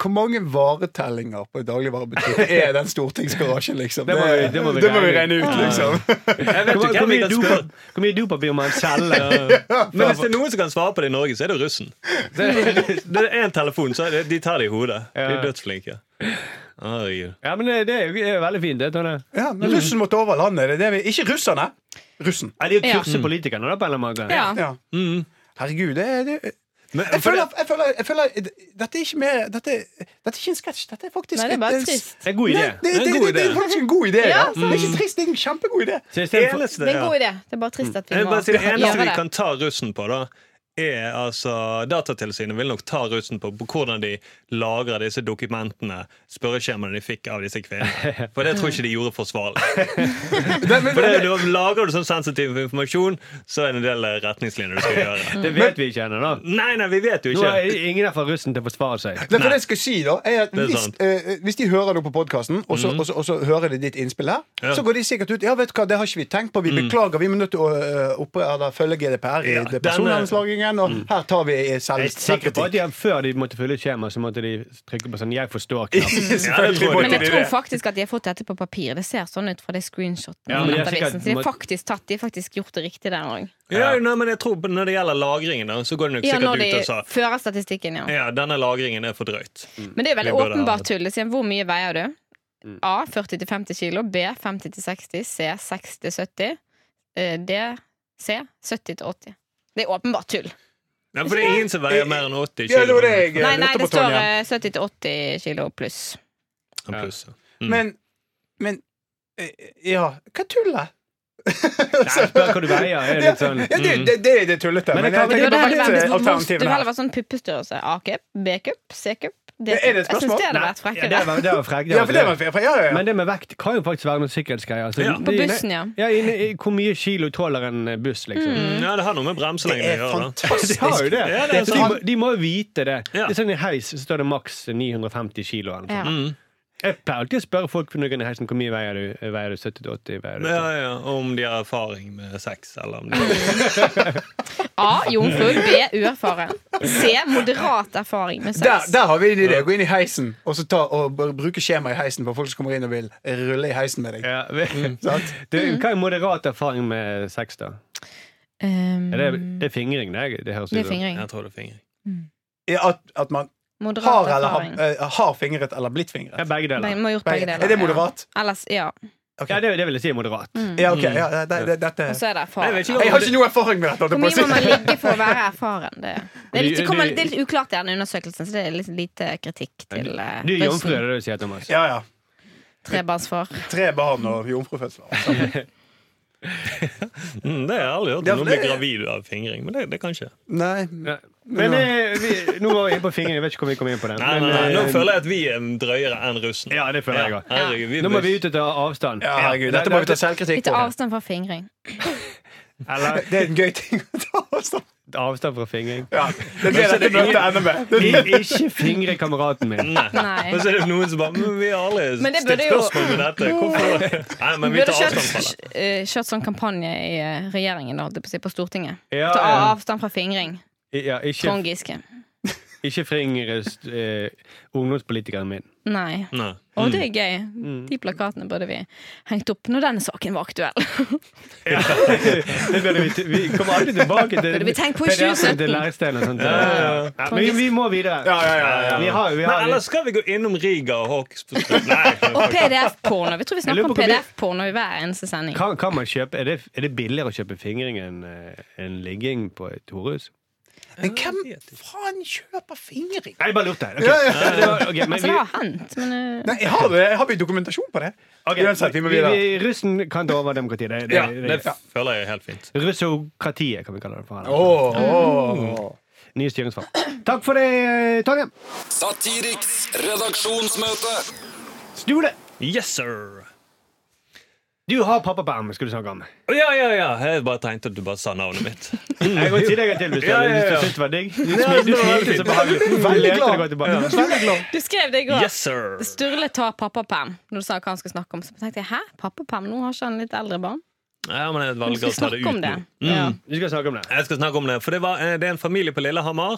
G: hvor mange varetellinger på dagligvarebutikken er den stortingsgarasjen, liksom?
E: Det må vi- det må vi
G: vi
E: regne
G: regne ut, liksom.
D: Jeg vet
E: hvor,
D: jo
E: hvor,
D: hvem vi
E: mye
D: kan
E: dopap-
D: spørre.
E: hvor mye dopapir må han selge?
D: Men hvis det er noen som kan svare på det i Norge, så er det russen. Det det er én telefon, så er det, de tar det i hodet. De er
E: Ja.
D: dødsflinke. Herregud.
E: Ja, men det, det er jo- er jo veldig fint, det. Tonje.
G: Ja, men russen måtte over landet. Det er det vi, ikke russerne. Russen.
E: Ja, det er jo
C: Ja.
E: kurse politikerne, da, på en eller annen måte.
C: Ja.
G: Ja. Herregud, det er det
D: Mm. Men,
G: jeg
D: for
G: føler,
D: det,
G: jeg føler, jeg føler Dette er ikke mer Dette, dette er ikke en sketsj. Dette er faktisk
C: Nei, det er bare
G: et-
C: trist.
E: Det er en god
G: Nei,
E: idé.
G: det, det,
D: Det er en
G: det,
D: god
G: det, er
D: idé.
G: faktisk en god idé.
C: Ja, sånn.
G: Ja, det er ikke trist, det er en kjempegod idé.
E: Så i stedet for-
D: eneste,
C: Det er en
D: ja.
C: god idé. Det er bare trist
G: Mm.
C: at vi
D: Jeg vil
C: må
D: bare si det eneste
C: gjøre
D: vi
C: det.
D: kan ta russen på, da er altså, Datatilsynet vil nok ta russen på, på hvordan de lagrer disse dokumentene, spørreskjemaene de fikk av disse kvinnene. For det tror jeg ikke de gjorde forsvarlig. For det, det, Lager du sånn sensitiv informasjon, så er det en del eh, retningslinjer du skal gjøre.
E: Det vet vi ikke ennå, da.
D: Nei, nei, vi vet jo
E: Mm. Nå er
D: ikke.
E: ingen der fra russen til å forsvare seg.
G: Det er for det jeg skal si da er at
D: er
G: hvis,
D: sant. Mm.
G: eh, hvis de hører noe på podkasten, og, så- og, så- og så hører de ditt innspill her,
D: Ja. Mm.
G: så går de sikkert ut Ja, vet du hva, det har ikke vi tenkt på. Vi beklager, vi må nødt til å eh, oppe, eller, følge GDPR i
D: Ja, den
G: det
D: er-
G: personverneslagingen, og her tar vi eh, selv
E: Jeg er sikker på at de, før de måtte fylle ut skjema, så måtte de trykke på sånn 'jeg forstår'-knapp.
G: Selvfølgelig
D: Ja, det tror jeg.
G: måtte
C: Men
G: de
C: jeg tror
G: det.
C: faktisk at de har fått dette på papir. Det ser sånn ut fra det screenshotene.
E: Ja,
C: i
E: men de har
C: nettavisen.
E: sikkert-
C: så de har faktisk tatt De har faktisk gjort det riktig den òg.
D: Ja, nei, men jeg tror på- Når det gjelder lagringen, da, så går det nok
C: Ja, når
D: sikkert
C: de
D: ut og sa
C: fører statistikken, ja.
D: ja, denne lagringen er for drøyt.
C: Men det er veldig
D: Vi burde ha
C: åpenbart
D: det.
C: tull. Det sier Hvor mye veier du? A 40-50 kilo. B 50-60. C 60-70. eh, D C 70-80. Det er åpenbart tull.
D: Nei, for det er ingen som veier mer enn 80
G: Ja, det var det jeg
D: kilo.
G: eh,
C: Nei, nei,
G: lurte
C: det
G: på, Tonje.
C: står eh, 70-80 kilo pluss.
D: Pluss.
G: Men Men eh, Ja, hva tullet?
E: Nei, spør hva du veier. Er litt sånn.
G: Ja, det, det, det, det er tullete.
E: Men
G: Men
E: det kan
G: jeg
E: vel-
C: Jo, det hadde vært,
G: tenker på mitt
C: hvis man-
G: alternativ
C: det
G: her.
C: hadde vært sånn puppestørrelse. A-cup, B-cup, C-cup. D-cup.
G: Er det
C: Jeg synes
G: et spørsmål?
C: det hadde
E: Nei,
C: vært
E: ja, det
C: frekkere.
E: var, det var frekk, det
G: Ja, for det var
E: frekk.
G: fair. Ja, ja, ja.
E: Men det med vekt kan jo faktisk være noen sikkerhetsgreier. så
D: Ja.
E: de-
D: På
C: På bussen, ja. Mm.
E: Ja, inne, i- Hvor mye kilo tåler en buss, liksom?
D: Ja, det har noe med bremselengden
G: Det
D: å
G: er
D: gjøre. da.
E: De har jo det.
D: Ja, det er
E: Så de, må,
D: sant.
E: de må jo vite det.
D: Ja.
E: Det er sånn I heis så står det maks 950 kilo. Eller noe sånt.
C: Ja.
E: Jeg pleier alltid å spørre folk når de går i heisen hvor mye veier du veier du 70-80. veier du
D: Ja, ja, Om de har erfaring med sex, eller om de
C: A. Jomfru. B. Uerfaren. C. Moderat erfaring med
G: Der,
C: sex.
G: der har vi en idé. Gå inn i heisen og, så ta, og b- bruke skjema i heisen for folk som kommer inn og vil rulle i heisen med deg.
E: Ja, vi-
G: Sant?
E: du, hva er moderat erfaring med sex, da?
C: Um,
E: Er det, det er fingring, det. det høres
C: det
E: ut
C: er
E: som.
C: fingring.
D: Jeg tror det er fingring.
G: Ja, At, at man
C: Moderat
G: har, eller, har,
C: erfaring.
G: eh, har fingret eller blitt
E: Ja,
G: fingret.
E: begge
C: Nei,
E: deler.
C: må ha gjort begge deler.
G: Er det
C: ja.
G: moderat?
C: Ellers, ja.
G: Ok.
E: Ja, det, det vil jeg si er moderat.
C: Mm.
G: Ja, ok. Ja, det, det, dette
C: Og så er det
D: Jeg
C: erfaring.
D: vet ikke
C: da.
G: Jeg har ikke noe erfaring med dette. holdt
C: Hvor
G: jeg på å
C: mye må man
G: si.
C: ligge for å være erfaren? Det, det, er litt,
E: Du-
C: det kommer
E: du-
C: litt, det er litt uklart i denne undersøkelsen, så det er litt lite kritikk til eh,
E: Du er jomfru, er
C: russen.
E: det du sier, Thomas?
G: Ja, ja.
C: Trebarnsfar.
G: Tre barn og jomfrufødsler.
D: Mm, det har jeg aldri hørt
G: Ja,
D: om
G: for
D: noen blir
G: det-
D: gravid av fingring, men det, det kan skje.
G: Nei.
E: Ja. Men eh, vi, nå var vi inne på fingring. Jeg vet ikke om vi kom inn på den.
D: Nei, nei,
E: men,
D: nei, nå
E: eh,
D: føler jeg at vi er drøyere enn russen.
E: Ja, det føler jeg
D: Ja,
E: òg.
D: herregud, vi-
E: Nå må vi ut og ta avstand.
G: Ja, herregud. Dette må vi ta selvkritikk
C: Litt
G: på.
C: avstand fra fingring.
E: Eller
G: Det er en gøy ting å ta avstand
E: avstand fra fingring.
G: Ja, Det er det dette møtet ender med. Det-
E: Ik- Ikke fingre kameraten min.
C: Nei.
D: Og så er det noen som bare Men vi har aldri
C: Men det
D: stilt
C: burde jo-
D: spørsmål ved dette. Hvorfor? Nei, men vi
C: Burde
D: tar avstand fra
C: kjørt,
D: det.
C: eh, kjørt sånn kampanje i eh, regjeringen, da, holdt jeg på å si, på Stortinget.
E: Ja,
C: Ta
D: eh.
E: ja.
C: avstand fra fingring.
E: I- Ja, ikke
C: Trond Giske.
E: ikke fingre st- eh, ungdomspolitikeren min.
C: Nei.
D: Nei.
C: Å, det er gøy. De plakatene burde vi hengt opp når den saken var aktuell.
E: Det burde vi, t- vi kommer aldri tilbake til
C: Burde vi tenkt på i 2017?
E: PDF-en til leirstein og sånt.
D: ja,
E: Ja, men vi, vi må videre.
G: Ja, ja, ja, ja.
E: Vi har, vi
D: Men
E: har,
D: ellers skal vi gå innom Riga og Hawks på slutt. Nei.
C: Og PDF-porno. Vi tror vi
E: Jeg
C: snakker
E: lurer
C: om
E: på hvor vi-
C: PDF-porno i hver eneste sending.
E: kan, kan man kjøpe, er, det, er det billigere å kjøpe fingring enn eh, enn ligging på et horehus?
G: Men hvem faen kjøper fingring?
E: Nei, jeg bare lurte. Ok.
G: Ja, ja.
E: Nei, det var- ok, men
C: Altså,
E: vi-
C: det har hendt, men eh,
G: Nei, har, det, har vi dokumentasjon på det?
E: ok,
G: Uansett, vi må
E: vi,
G: videre.
E: vi, russen kan ta over demokratiet. Det, det,
D: Ja,
E: det,
D: det føler jeg er helt fint.
E: Russokratiet, kan vi kalle det. for
G: Åh, åh.
E: Nye styringsform. Takk for det, eh, Tonje.
F: Satiriks redaksjonsmøte.
E: Stule,
D: Yes, sir!
E: du har pappaperm, skulle du snakke om.
D: Ja, ja, ja. Jeg bare tenkte at du bare sa navnet mitt.
E: Jeg går til deg en til hvis du
D: Ja, ja, ja.
E: hvis du syntes det var digg. Du
D: Ja,
E: smil-
D: det
E: du
D: var
E: smilte
D: veldig
E: så behagelig. Du
G: Veldig
E: lette deg
G: glad.
E: godt tilbake.
G: Veldig glad.
C: Du skrev det i går.
D: Yes, sir!
C: Sturle tar pappaperm når du sa hva han skal snakke om. Så tenkte jeg, hæ? Pappaperm? Nå har ikke han litt eldre barn?
D: Ja, men jeg
C: Vi
D: velger
C: skal
D: å ta det
C: snakke
D: ut
C: om det.
D: nå.
C: Ja.
E: Vi skal snakke om det.
D: Jeg skal snakke om det, for det, var, eh, det er en familie på Lillehammer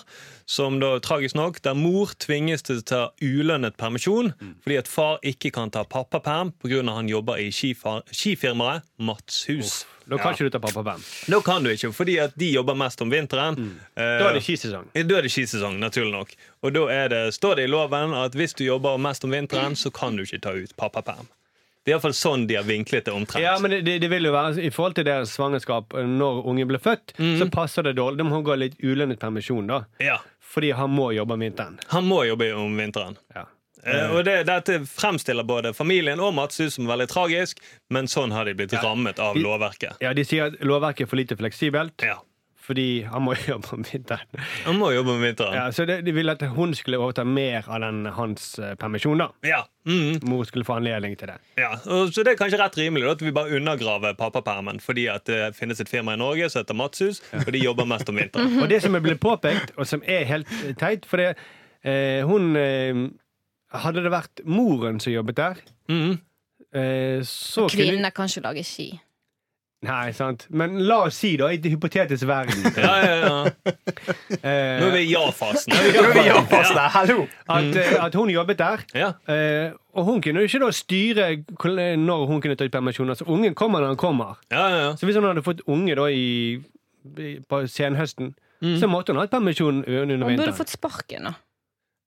D: som da, tragisk nok, der mor tvinges til å ta ulønnet permisjon fordi at far ikke kan ta pappaperm pga. han jobber i skifa- skifirmaet Matshus.
E: Nå kan ikke du ta pappaperm.
D: Nå kan du ikke, fordi at de jobber mest om vinteren. Eh,
E: Da er det skisesong.
D: da er det skisesong, naturlig nok. Og da er det, står det i loven at hvis du jobber mest om vinteren, så kan du ikke ta ut pappaperm. Det er iallfall sånn de har vinklet det omtrent.
E: Ja, men det- det, det vil jo være I forhold til deres svangerskap eh, når ungen ble født, så passer det dårlig. Da må hun gå litt ulønnet permisjon, da.
D: Ja,
E: Fordi han må jobbe om vinteren.
D: Han må jobbe om vinteren.
E: Ja.
D: Eh, og det, Dette fremstiller både familien og Mats ut som veldig tragisk, men sånn har de blitt rammet av lovverket.
E: ja, De sier at lovverket er for lite fleksibelt
D: Ja.
E: fordi han må jobbe om vinteren.
D: Han må jobbe om vinteren.
E: Ja, så det, De ville at hun skulle overta mer av den hans eh, permisjon. da
D: Ja. Mm,
E: Mor skulle få anledning til det.
D: ja. Og, så det er kanskje rett rimelig da, at vi bare undergraver pappapermen, fordi at det finnes et firma i Norge som heter Matshus, og de jobber mest om vinteren.
E: Og det som er blitt påpekt, og som er helt teit For det, eh, hun eh, Hadde det vært moren som jobbet der,
D: Mm.
E: eh, så kunne
C: Kvinner kan ikke lage ski.
E: Nei, sant. Men la oss si, da, i det hypotetiske verden
D: Ja, ja, ja. Nå er
E: eh,
D: vi i ja-fasen.
G: Nå er vi i avpassen her. Hallo!
D: Mm.
E: at, eh, at hun jobbet der.
D: Ja.
E: Eh, og hun kunne jo ikke da styre hvor- når hun kunne ta ut permisjon. Altså, ungen kommer når han kommer.
D: Ja, ja, ja.
E: Så hvis hun hadde fått unge da i, i, på senhøsten,
D: Mm.
E: så måtte hun hatt permisjon under
C: Hun burde
E: vinteren.
C: fått sparken, da.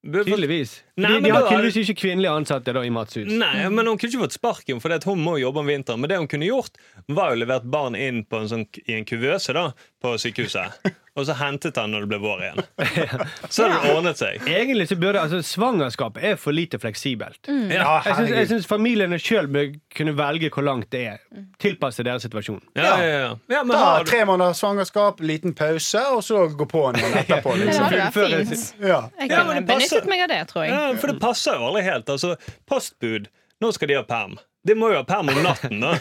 E: Tydeligvis.
D: Nei,
E: Fordi
D: men
E: de har
D: da er-
E: tydeligvis ikke kvinnelige ansatte da, i Matshus.
D: Nei, men hun kunne ikke fått sparken, for hun må jobbe om vinteren. Men det hun kunne gjort, var jo levert barn inn på en sånn, i en kuvøse da, på sykehuset. og så hentet han når det ble vår igjen. Så hadde det ordnet seg.
E: Egentlig så burde altså, Svangerskap er for lite fleksibelt.
C: Mm.
G: Ja,
E: Jeg syns- Jeg
G: herregud.
E: syns familiene sjøl bør kunne velge hvor langt det er.
C: Mm.
E: Tilpasse deres situasjon.
D: Ja, ja, ja. ja men
G: Ta
D: har du...
G: tre måneder svangerskap, liten pause, og så gå på noen etterpå.
C: Det
G: Liksom.
E: full-
C: hadde vært
E: full-
C: fint.
G: Ja.
C: Jeg
D: Ja,
C: kunne
D: men det passer.
C: benyttet meg av det, tror jeg.
D: Ja, for det passer jo aldri helt. Altså, postbud, nå skal de ha perm. De må jo ha perm om natten, da.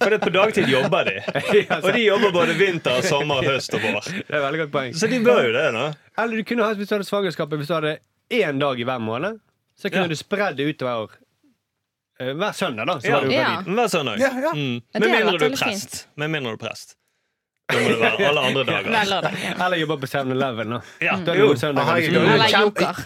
D: For det er på dagtid jobber de. Og de jobber både vinter, sommer, høst og vår.
E: Det er et veldig godt poeng.
D: Så de bør jo det, da.
E: Eller du kunne hatt, hvis du hadde svangerskapet Hvis du hadde én dag i hver måned, så kunne
D: Ja.
E: du spredd det utover eh, hver søndag. da Så
D: Ja.
E: var du
C: Ja.
E: gravid.
D: Vær sønn òg.
G: Ja, ja.
D: Mm.
C: Ja, det
D: Med
C: hadde
D: mindre
C: vært
D: du er
C: veldig
D: prest. Med mindre du er prest. Da må det være alle andre dager.
C: Velger det.
E: Eller jobba på 7-Eleven. da.
D: Ja.
E: Da er det
D: Jo.
E: noen søndager du
G: herregud.
E: skulle-
C: Eller
G: Kjempe-
C: joker.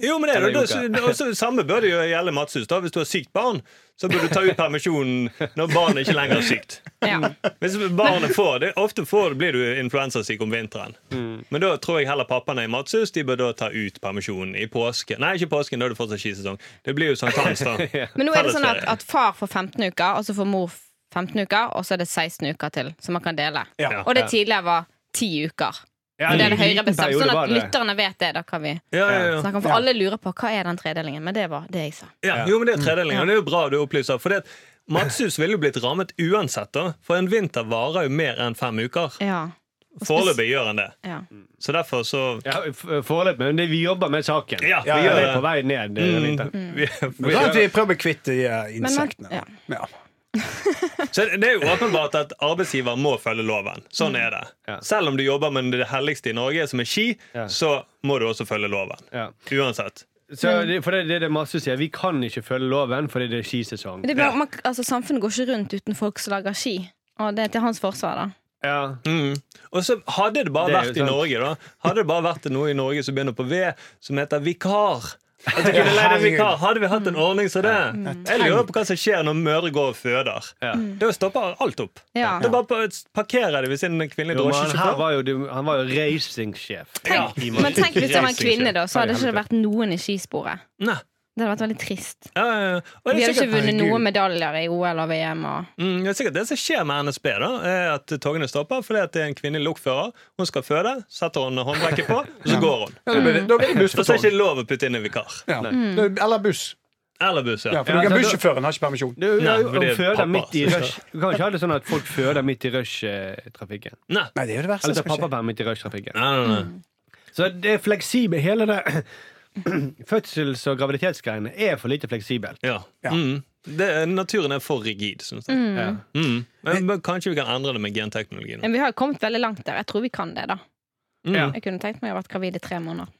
D: Jo, men det er
E: Eller
D: det. Det- det- også, Samme bør det jo gjelde Matshus. da Hvis du har sykt barn, så bør du ta ut permisjonen når barnet ikke lenger er sykt.
C: Ja.
D: Hvis barnet får det, Ofte får, blir du influensasyk om vinteren. Men da tror jeg heller pappaene i Matshus De bør da ta ut permisjonen i påsken. Nei, ikke påsken, da er det fortsatt skisesong. Det blir jo sankthans, da.
C: Men nå er det sånn at,
D: Fellesferie.
C: at far får 15 uker, og så får mor 15 uker, og så er det 16 uker til, som man kan dele.
G: Ja.
C: Og det tidligere var 10 uker.
E: Ja,
C: Og det
E: en
C: er det høyere
E: liten
C: bestemt,
E: periode
C: sånn
E: var
C: at
E: det.
C: lytterne vet det. Da kan vi
D: Ja, ja, ja.
C: snakke om, for alle lurer på hva er den tredelingen. Men det var det jeg sa.
D: Ja, jo, men
E: Mm.
D: Det er tredeling, og det er jo bra du opplyser. For det, at Matshus ville jo blitt rammet uansett, da. For en vinter varer jo mer enn fem uker.
C: Ja.
D: Foreløpig gjør han det.
C: ja.
D: Så derfor så
E: Ja, f- Foreløpig, men det, vi jobber med saken.
D: Ja, Mm.
E: vi
D: ja, ja.
E: gjør det på vei ned. eh, Anita.
D: vi, vi,
G: Sånn at vi prøver å kvitte de eh,
C: man-
G: insektene. Ja.
D: Så det er jo åpenbart at arbeidsgiver må følge loven. Sånn er det.
E: Ja.
D: Selv om du jobber med det helligste i Norge, som er ski,
E: Ja.
D: så må du også følge loven.
E: Ja.
D: Uansett.
E: Så det, for det, det er det masse sier. Vi kan ikke følge loven fordi det er skisesong.
C: Det blir, man, altså, samfunnet går ikke rundt uten folk som lager ski. Og det er til hans forsvar, da.
E: Ja.
D: Mm. Og så hadde det bare
E: Det er jo
D: vært i
E: sant.
D: Norge, da. Hadde det bare vært noe i Norge som begynner på V, som heter vikar. At du kunne leid en vikar. Hadde vi hatt en ordning som det? Jeg lurer på hva som skjer når mødre går og føder.
E: Mm.
D: Mm.
E: Ja.
D: Da stopper alt opp.
C: Ja.
D: Da bare parkerer de ved sin kvinnelige
E: Jo, men han, her
D: drosjesjåfør.
E: var jo, du- han var jo racingsjef.
C: Tenk,
E: Ja.
C: Men tenk hvis det var en kvinne, da, så hadde
E: Nei,
C: ikke det vært noen i skisporet.
D: Nei.
C: Det hadde vært veldig trist.
D: Ja, ja, ja. Og det er
C: Vi hadde
D: sikkert-
C: ikke vunnet
G: herregud.
C: noen medaljer i OL og VM. Og...
D: Mm, det er sikkert det som skjer med NSB, da, er at togene stopper fordi at det er en kvinnelig lokfører. Hun skal føde, setter hun håndbrekket på, og så går hun.
G: Ja, da blir det- da blir det sånn. buss
D: For
G: på
D: så er det
G: tog.
D: ikke lov å putte inn en vikar.
G: Ja. Da- Eller buss.
D: Eller buss,
G: Ja,
D: ja.
G: for
E: Ja,
G: du
E: så
G: kan
E: da-
G: bussjåføren har ikke permisjon.
E: Du,
D: Nei,
E: du,
D: for det er
E: føder
D: pappa
E: midt i
D: som
E: rush. Du kan ikke ha det sånn at folk føder midt i rush-trafikken.
D: Nei.
G: Nei, det er jo det verste.
E: Eller
G: som
E: tar
G: kan skje.
E: pappaperm midt i rush-trafikken.
D: Nei, nei, nei.
E: Så det er fleksibel Hele det fødsels- og graviditetsgreiene er for lite fleksibelt.
D: Ja.
G: Ja.
D: Mm. Det, er- naturen er for rigid, syns jeg.
E: Ja.
D: Mm. Men, men kanskje vi kan endre det med genteknologi nå.
C: Men vi har jo kommet veldig langt der. Jeg tror vi kan det, da.
D: Mm. Ja,
C: Jeg kunne tenkt meg å ha vært gravid i tre måneder.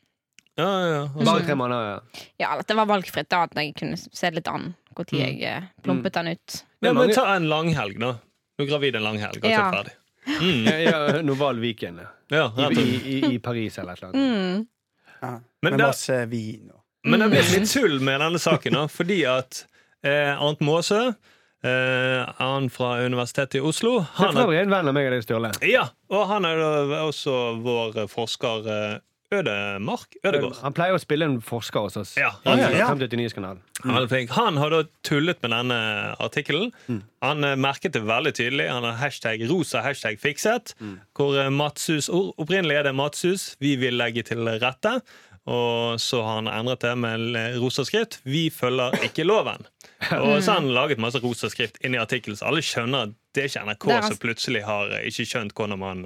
D: ja, ja. Og så-
E: Bare tre måneder. Ja.
C: Ja, eller at det var valgfritt, da. At jeg kunne se litt an når jeg eh, plumpet den ut.
D: ja, men ta en langhelg, da. Du er gravid en langhelg, og så er
C: Ja.
D: du ferdig. Mm.
E: Ja, ja, Noval Viken ja.
D: Ja,
E: I,
D: rett og slett.
E: i, i Paris eller et eller annet.
C: Mm.
G: Ja.
D: Men
G: Med
D: da-
G: masse vin og
D: Men det blir litt tull med denne saken, da, fordi at eh, Arnt Maase, eh, han fra Universitetet i Oslo
E: Det er
D: han
E: for
D: er,
E: øvrig en venn av meg og deg, Sturle.
D: ja, Og han er da også vår forsker eh, Ødemark Ødegård.
E: Han pleier å spille en forsker hos oss.
D: Ja,
E: Han
D: rett og
E: er
D: slett.
E: frem til 89-kanalen.
D: Han er flink. Han har da tullet med denne artikkelen.
C: Mm.
D: Han eh, merket det veldig tydelig. Han har hashtag rosa hashtag fikset.
C: Mm.
D: Hvor eh, Matshus, or- opprinnelig er det Matshus. Vi vil legge til rette. Og så har han endret det med l- rosa skrift. Vi følger ikke loven. Og så har han laget masse rosa skrift inn i artikkelen, så alle skjønner at det er ikke NRK
C: Der han-
D: som plutselig har eh, ikke skjønt hvordan man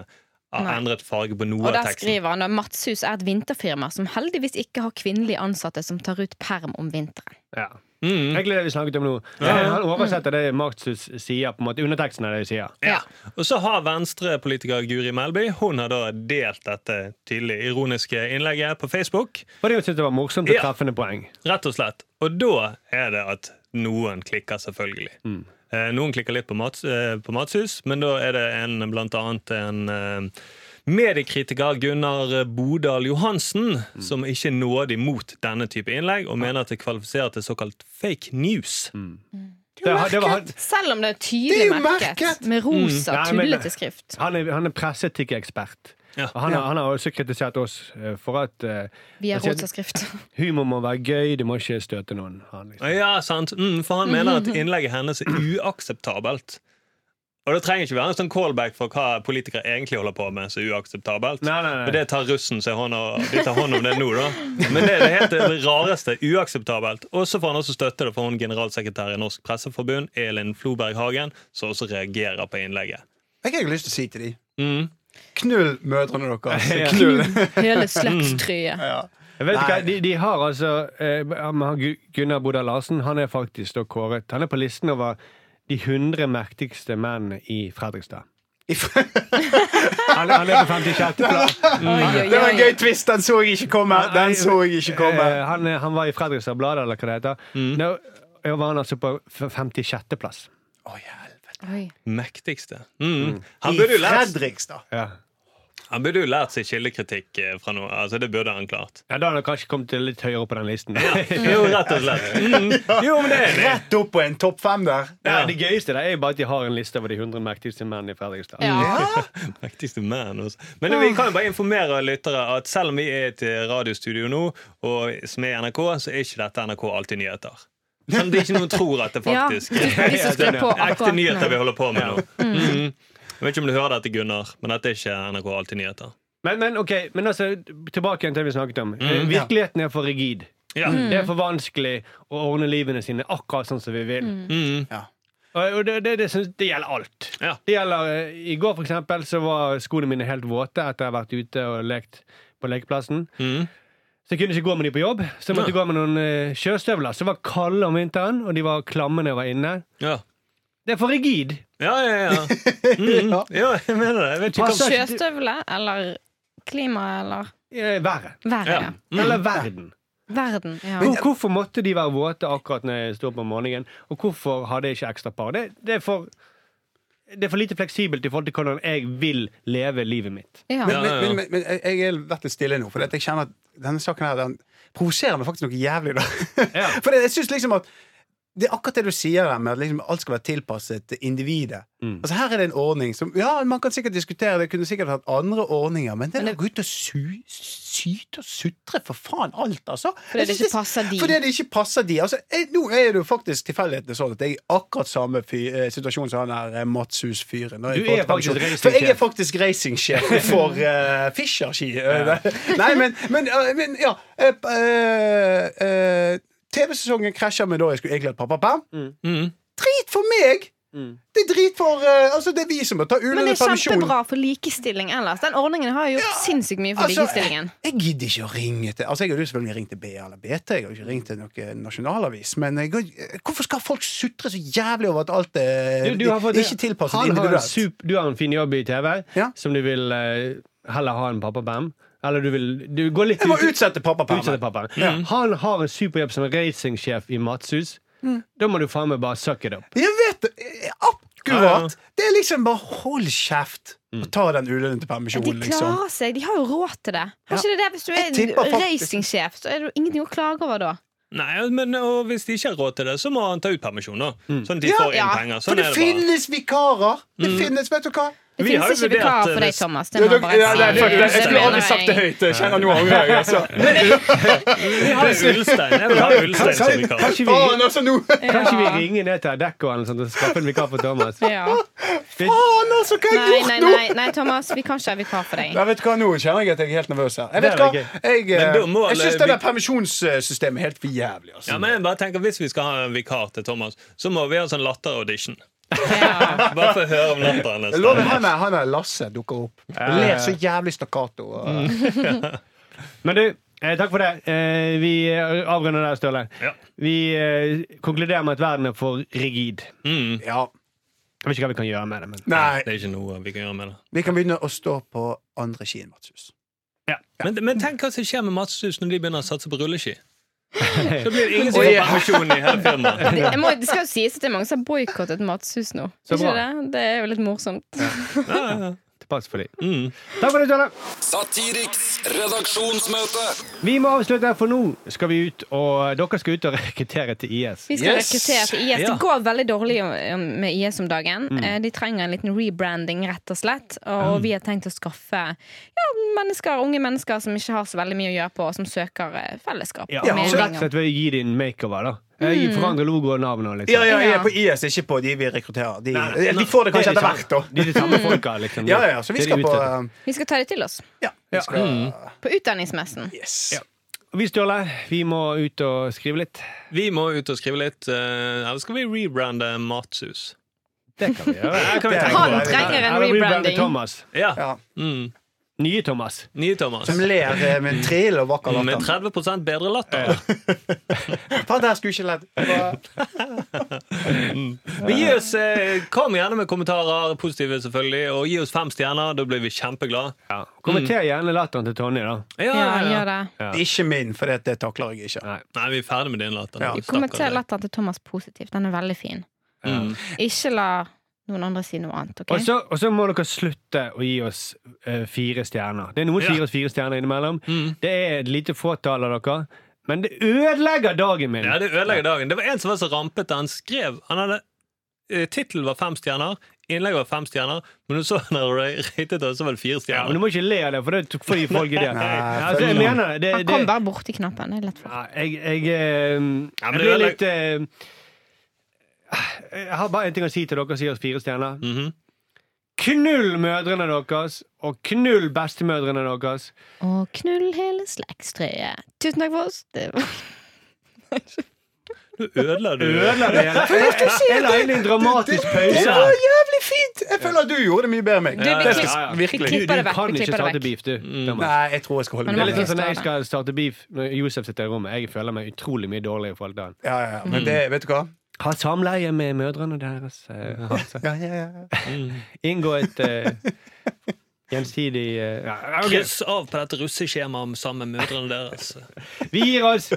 D: har
C: Nei.
D: endret farge på noe
C: Og
D: av
C: der
D: teksten.
C: skriver han at Matshus er et vinterfirma som heldigvis ikke har kvinnelige ansatte som tar ut perm om vinteren.
E: Ja.
D: Mm.
E: Egentlig det vi snakket om nå. Han oversetter det Martsus sier, på en måte, underteksten av det de sier.
D: Ja. Og så har Venstre-politiker Guri Melby Hun har da delt dette tydelig ironiske innlegget på Facebook.
E: For det syntes det var morsomt og
D: Ja.
E: treffende poeng.
D: Rett og slett. Og da er det at noen klikker, selvfølgelig. Eh, noen klikker litt på, Mats, eh, på Matshus, men da er det en, blant annet en eh, mediekritiker, Gunnar Bodal Johansen, som ikke er nådig mot denne type innlegg, og mener at det kvalifiserer til såkalt fake news.
E: Det, det var, han,
C: Selv om det er
G: Det
C: tydelig
G: er jo
C: merket,
G: merket!
C: med rosa,
E: Mm. Nei, men-
C: tullete skrift.
E: han, er, han er presseetikkekspert.
D: Ja.
E: Og han, har- han har også kritisert oss eh, for at eh,
C: Via
E: han sier at
C: rosa skrift.
E: humor må være gøy, det må ikke støte noen. Han, liksom.
D: Ja, sant. Mm, for han mener at innlegget hennes er uakseptabelt. Og det trenger ikke være en sånn callback for hva politikere egentlig holder på med. Så uakseptabelt
E: Nei, nei, nei.
D: For det tar russen seg hånd om, de tar hånd om det nå, da. Men det er det helt det rareste. Uakseptabelt. Og så får han også støtte det fra hun generalsekretær i Norsk Presseforbund, Elin Floberg Hagen, som også reagerer på innlegget.
G: Hva har jeg lyst til å si til de?
D: Mm.
G: Knull mødrene deres.
E: Ja.
G: Knull.
C: Hele slektstrøyet.
G: ja.
E: Jeg vet ikke,
G: Nei.
E: hva, de, de har altså eh, han- han Gu- Gunnar Bodal Larsen han er faktisk da kåret Han er på listen over de 100 mektigste mennene i Fredrikstad. Han, han er på 56. plass.
G: Mm. Det var en gøy twist. Den så jeg ikke komme. Ah, Den så jeg ikke komme. Mm.
E: Eh, han, han var i Fredrikstad Blad, eller hva det heter. Nå var han altså på f- 56. plass.
G: Å, helvete.
C: Oi.
D: Mektigste. Mm. Han burde
G: I
D: jo lært,
G: Fredrikstad.
E: Ja.
D: han burde jo lært seg kildekritikk eh, fra noe. Altså, det burde han klart.
E: ja, Da hadde han kanskje kommet litt høyere opp på den listen.
D: Jo, rett og slett. Mm. Jo, men det er det.
G: Rett opp på en topp fem der.
E: Ja, det gøyeste der er jo bare at de har en liste over de 100 mektigste menn i Fredrikstad.
C: Ja.
D: Mektigste man også.
C: Ah.
D: Men vi kan jo bare informere lyttere at selv om vi er i et radiostudio nå, og som er NRK, så er ikke dette NRK Alltid nyheter. Sånn, det er ikke noen tror at det
C: Ja,
D: faktisk
C: de- de som skrur på
D: er ekte
C: akkurat nå.
D: nyheter
C: Mm.
D: vi holder på med nå. Mhm. Jeg vet ikke om du hører dette, Gunnar, men dette er ikke NRK Alltid nyheter.
E: Men, men ok, men altså, tilbake igjen til det vi snakket
G: Mm,
E: om. Eh, Virkeligheten er for rigid.
D: Ja.
C: Mm.
E: Det er for vanskelig å ordne livene sine akkurat sånn som vi vil.
D: Mhm.
G: Ja.
E: Og og det, det, det, syns- det gjelder alt.
D: Ja.
E: Det gjelder, eh, I går for eksempel, så var skoene mine helt våte etter å ha vært ute og lekt på lekeplassen.
D: Mhm.
E: Så jeg kunne ikke gå med de på jobb, så jeg måtte gå med noen eh, sjøstøvler som var kalde om vinteren, og de var klamme når jeg var inne.
D: ja.
E: Det er for rigid.
D: Ja, ja, ja. Mhm. ja, jeg mener det. Jeg vet ikke hva
E: Passer-
C: Sjøstøvler eller klima eller
E: Eh, Været.
C: været.
D: Ja.
C: Ja.
E: Eller verden.
C: Verden. Ja.
E: Hvor, hvorfor måtte de være våte akkurat når jeg sto opp om morgenen? Og hvorfor hadde jeg ikke ekstra par? Det, det, er for, det er for lite fleksibelt i forhold til hvordan jeg vil leve livet mitt.
C: Ja.
D: Ja,
G: Men,
D: ja, ja.
G: men, men, men jeg- jeg har vært litt stille nå, for jeg kjenner at denne saken her den provoserer meg faktisk noe jævlig. Da.
E: Ja.
G: For jeg synes liksom at det er akkurat det du sier der med at liksom alt skal være tilpasset individet.
D: Mm.
G: Altså Her er det en ordning som Ja, man kan sikkert diskutere det, kunne sikkert hatt andre ordninger, men det er å gå ut og sy, syte og sutre for faen alt, altså.
C: Fordi
G: Jeg
C: det
G: synes
C: ikke passer de.
G: Fordi det ikke passer de. Altså, jeg, nå er det jo faktisk tilfeldighetene sånn at jeg er i akkurat samme fy, eh, situasjon som han her eh, Matshus-fyren. når jeg
E: Du er
G: får
E: faktisk
G: pensjon.
E: racing-sjef.
G: For jeg er faktisk racingsjef for uh, Fischer-ski. Nei, men, men, eh, men ja eh, eh, eh, TV-sesongen krasjer med da jeg skulle egentlig hatt pappaperm.
D: Mhm.
G: Drit for meg!
E: Mm.
G: Det er drit for eh, Altså, det er vi som må ta
C: Men
G: ulønnet
C: det er
G: permisjon.
C: kjempebra for likestilling ellers. Den ordningen har jo gjort sinnssykt mye for
G: Altså,
C: likestillingen.
G: Jeg gidder ikke å ringe til Altså, jeg hadde jo selvfølgelig ringt til BA eller BT, jeg har jo ikke ringt til noen nasjonalavis, men jeg, har- hvorfor skal folk sutre så jævlig over at alt er
E: Du- du har fått-
G: ikke tilpasset
E: han har en
G: individuelt?
E: sup, du har en fin jobb i TV
G: Ja.
E: som du vil eh, heller ha en pappabam. Eller du vil du går litt
G: Jeg må
E: ut-
G: utsette
E: utsette
G: pappapermen.
E: pappaen.
D: Mm.
E: Han har en superjobb som racingsjef i Matshus. Da må du faen meg bare suck it up.
G: Jeg vet det!
D: Ja, ja. Mm.
G: Akkurat! Det er liksom bare hold kjeft og ta den ulønnede
C: De
G: permisjonen, liksom.
C: klarer seg. De har jo råd til det. Har ikke det det? Hvis du
G: Jeg tipper
C: er
G: faktisk-
C: racingsjef, så er det jo ingenting å klage over da.
D: Nei, men og Hvis de ikke har råd til det, så må han ta ut permisjon, da. Sånn at de
G: Ja,
D: får inn
C: ja.
D: penger.
G: For
D: Sånn
G: det
D: er det bare. Mm.
G: finnes vikarer! Det finnes, vet du hva!
C: Det
D: Vi har
C: finnes
D: jo
C: ikke
D: vurdert,
C: vikarer
D: eh,
C: for deg,
D: hvis-
C: Thomas. Det
G: Ja,
C: må
G: dere-
C: jeg bare
G: ja,
C: si.
G: nei, fuck det. Jeg
C: Det
G: skulle aldri
C: mener
G: sagt det
C: jeg.
G: høyt. Jeg kjenner nå angrer jeg, altså.
D: Det
C: altså.
D: er Ulstein. Jeg vil ha Ulstein som vikar.
E: Kanskje vi,
G: Faen, altså, nå!
E: kanskje vi ringer ned til Adecco eller noe sånt og skaffer en vikar for Thomas?
C: Ja.
E: Vi-
G: Faen, altså, hva har jeg
C: Nei,
G: gjort
C: nei,
G: nå?!
C: nei, nei, Thomas. Vi kan ikke ha vikar for deg.
G: Nei, vet du hva, Nå kjenner jeg at jeg er helt nervøs her. Jeg
E: Det
G: vet
E: er
G: hva,
E: det
G: jeg,
D: Men da må
G: eh, jeg syns
D: alle-
G: det der permisjonssystemet er helt for jævlig. Altså.
D: Ja, men jeg bare tenker Hvis vi skal ha en vikar til Thomas, så må vi ha sånn latter-audition.
C: Ja.
D: Bare for å høre om latteren.
G: Jeg lover, han, er, han er Lasse dukker opp. Og ler så jævlig stakkato. og-
D: Mm.
E: Men du, eh, takk for det. Eh, vi eh, avrunder der, Ståle.
D: Ja.
E: Vi eh, konkluderer med at verden er for rigid.
D: Mm.
G: Ja.
E: Jeg vet ikke hva vi kan gjøre med det, men
G: Nei.
D: Det er ikke noe vi kan gjøre med det.
G: Vi kan begynne å stå på andre skien, Matshus.
D: Men, men tenk hva som skjer med Matshus når de begynner å satse på rulleski. Så blir det ingen som
G: Oi,
D: får
G: ja.
D: permisjon i hele firmaet.
C: Jeg må, det skal jo sies at det er mange som har boikottet Matshus nå.
E: Så
C: Ikke
E: bra.
C: det? det er jo litt morsomt.
D: Ja, ja, ja.
E: tilpass for dem.
D: Mm.
E: Takk for det, Ståle.
F: Satiriks redaksjonsmøte.
E: Vi må avslutte, for nå skal vi ut, og dere skal ut og rekruttere til IS.
C: Vi skal
G: Yes.
C: rekruttere til IS.
D: Ja.
C: Det går veldig dårlig om- med IS om dagen.
E: Mm.
C: Eh, De trenger en liten rebranding, rett og slett. Og vi har tenkt å skaffe ja, mennesker, unge mennesker som ikke har så veldig mye å gjøre på, og som søker eh, fellesskap.
E: Ja,
C: og
E: så rett og
C: meninger.
E: slett ved å gi dem makeover, da. Jeg forandrer logo og navn og liksom.
G: Mm. Ja, ja, jeg er
C: Ja.
G: på IS, ikke på de vi rekrutterer. De,
D: Nei, nei.
G: de får det
E: de
G: kanskje etter
E: samme-
G: hvert, da. Mm.
E: De er de samme folka, liksom.
G: Ja, ja, så vi
E: Det er de
G: skal på
E: ute etter.
G: eh,
C: Vi skal ta det til oss.
G: Ja. Vi skal,
C: På utdanningsmessen.
G: yes.
E: Ja. Vi, Sturle, vi må ut og skrive litt.
D: Vi må ut og skrive litt. eh, Eller skal vi rebrande Matsus?
E: Det kan vi gjøre.
D: Her kan vi
G: Det er-
D: tenke på
C: Han
D: det.
C: trenger en
E: Eller rebrande
C: rebranding.
E: Thomas.
D: Ja.
G: Ja.
D: Mm.
E: Nye Thomas.
D: Nye Thomas. Mm,
G: Som ler eh, med en trill og vakker
D: Med
G: latter.
D: 30 bedre latter.
G: Faen, der skulle ikke ledd.
D: Men gi oss, eh, Kom gjerne med kommentarer, positive selvfølgelig, og gi oss fem stjerner. Da blir vi kjempeglade.
E: Ja.
G: Mm.
E: Kommenter gjerne latteren til Tonje, da.
D: Ja,
C: Ja,
D: ja, ja.
C: gjør det.
G: Ikke min, for det, det takler jeg ikke.
E: Nei.
D: Nei, vi er ferdig med din latter.
G: Ja.
D: nå.
G: Du
C: Kommenter
D: Stakkars.
C: latteren til Thomas positivt. Den er veldig fin.
D: Mm.
C: Ikke la noen andre si noe annet,
E: Og
C: OK?
E: så, og så må dere slutte å gi oss eh, fire stjerner. Det er noen
D: Ja.
E: som gir oss fire stjerner innimellom.
D: Mm.
E: Det er et lite fåtall av dere. Men det ødelegger dagen min!
D: Ja, det ødelegger dagen. Det var en som var så rampete. Han skrev han hadde, eh, Tittelen var fem stjerner, innlegget var fem stjerner, men du så når du ratet det, så var det fire
E: Ja, men
D: stjerner.
E: du må ikke le av det, for det får de folk i det.
G: Nei,
E: altså, jeg
G: for-
E: mener det.
C: Han
E: det,
C: kom
E: det
C: bare borti knappen. Det er lett for.
E: ja, jeg, jeg, eh, jeg
D: det
E: blir
D: ødelegger-
E: litt eh, Jeg har bare en ting å si til dere som gir oss fire stjerner.
D: Mhm.
E: Knull mødrene deres, og knull bestemødrene deres.
C: Og knull hele slektstrøyet. Tusen takk for oss. Det var
D: Du ødela du.
E: Ødela det hele. Jeg, jeg, jeg la inn en dramatisk pause.
G: Det var jævlig fint! Jeg føler at du gjorde det mye bedre enn meg.
C: Du, vi,
D: ja,
C: klipp,
E: ja, ja.
C: vi
E: Du,
C: klipper det
E: du
C: vekk.
E: kan
C: Vi
E: ikke
C: klipper
E: starte
C: det vekk.
E: beef, du. Thomas.
G: Nei, jeg tror jeg skal holde
C: Men
E: Mm. Det er
G: meg.
C: man-
E: litt sånn som når jeg skal starte beef når Josef sitter i rommet. Jeg føler meg utrolig mye dårligere i forhold til han.
G: Ja, ja, ja. Men det, vet du hva?
E: Ha samleie med mødrene deres. eh, altså.
G: Ja, ja, ja.
E: Inngå et eh, gjensidig eh, ja, ok.
D: Kryss av på dette russeskjemaet med sammen med mødrene altså. deres.
E: Vi gir oss.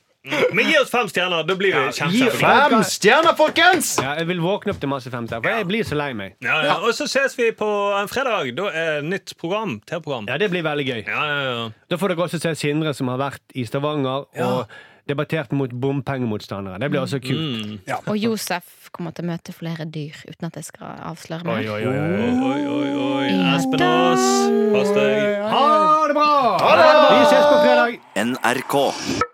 D: Men gi oss fem stjerner, da blir vi
E: gi
D: kjempeglade.
E: oss-
G: Fem stjerner, folkens!
E: Ja, jeg vil våkne opp til masse femter, for jeg blir så lei meg.
D: Ja, ja. Og så ses vi på en fredag. Da er det nytt program. TV-program.
E: Ja, Det blir veldig gøy.
D: Ja, ja, ja.
E: Da får dere også se Sindre, som har vært i Stavanger og debattert mot bompengemotstandere. Det blir også kult.
D: Mm.
C: Og Josef kommer til å møte flere dyr, uten at jeg skal avsløre
E: Oi,
C: mer.
E: oi, oi, oi.
D: Oi, oi, oi. Espen Aas. Pass deg.
E: Ha det bra! Vi ses på fredag.
A: NRK.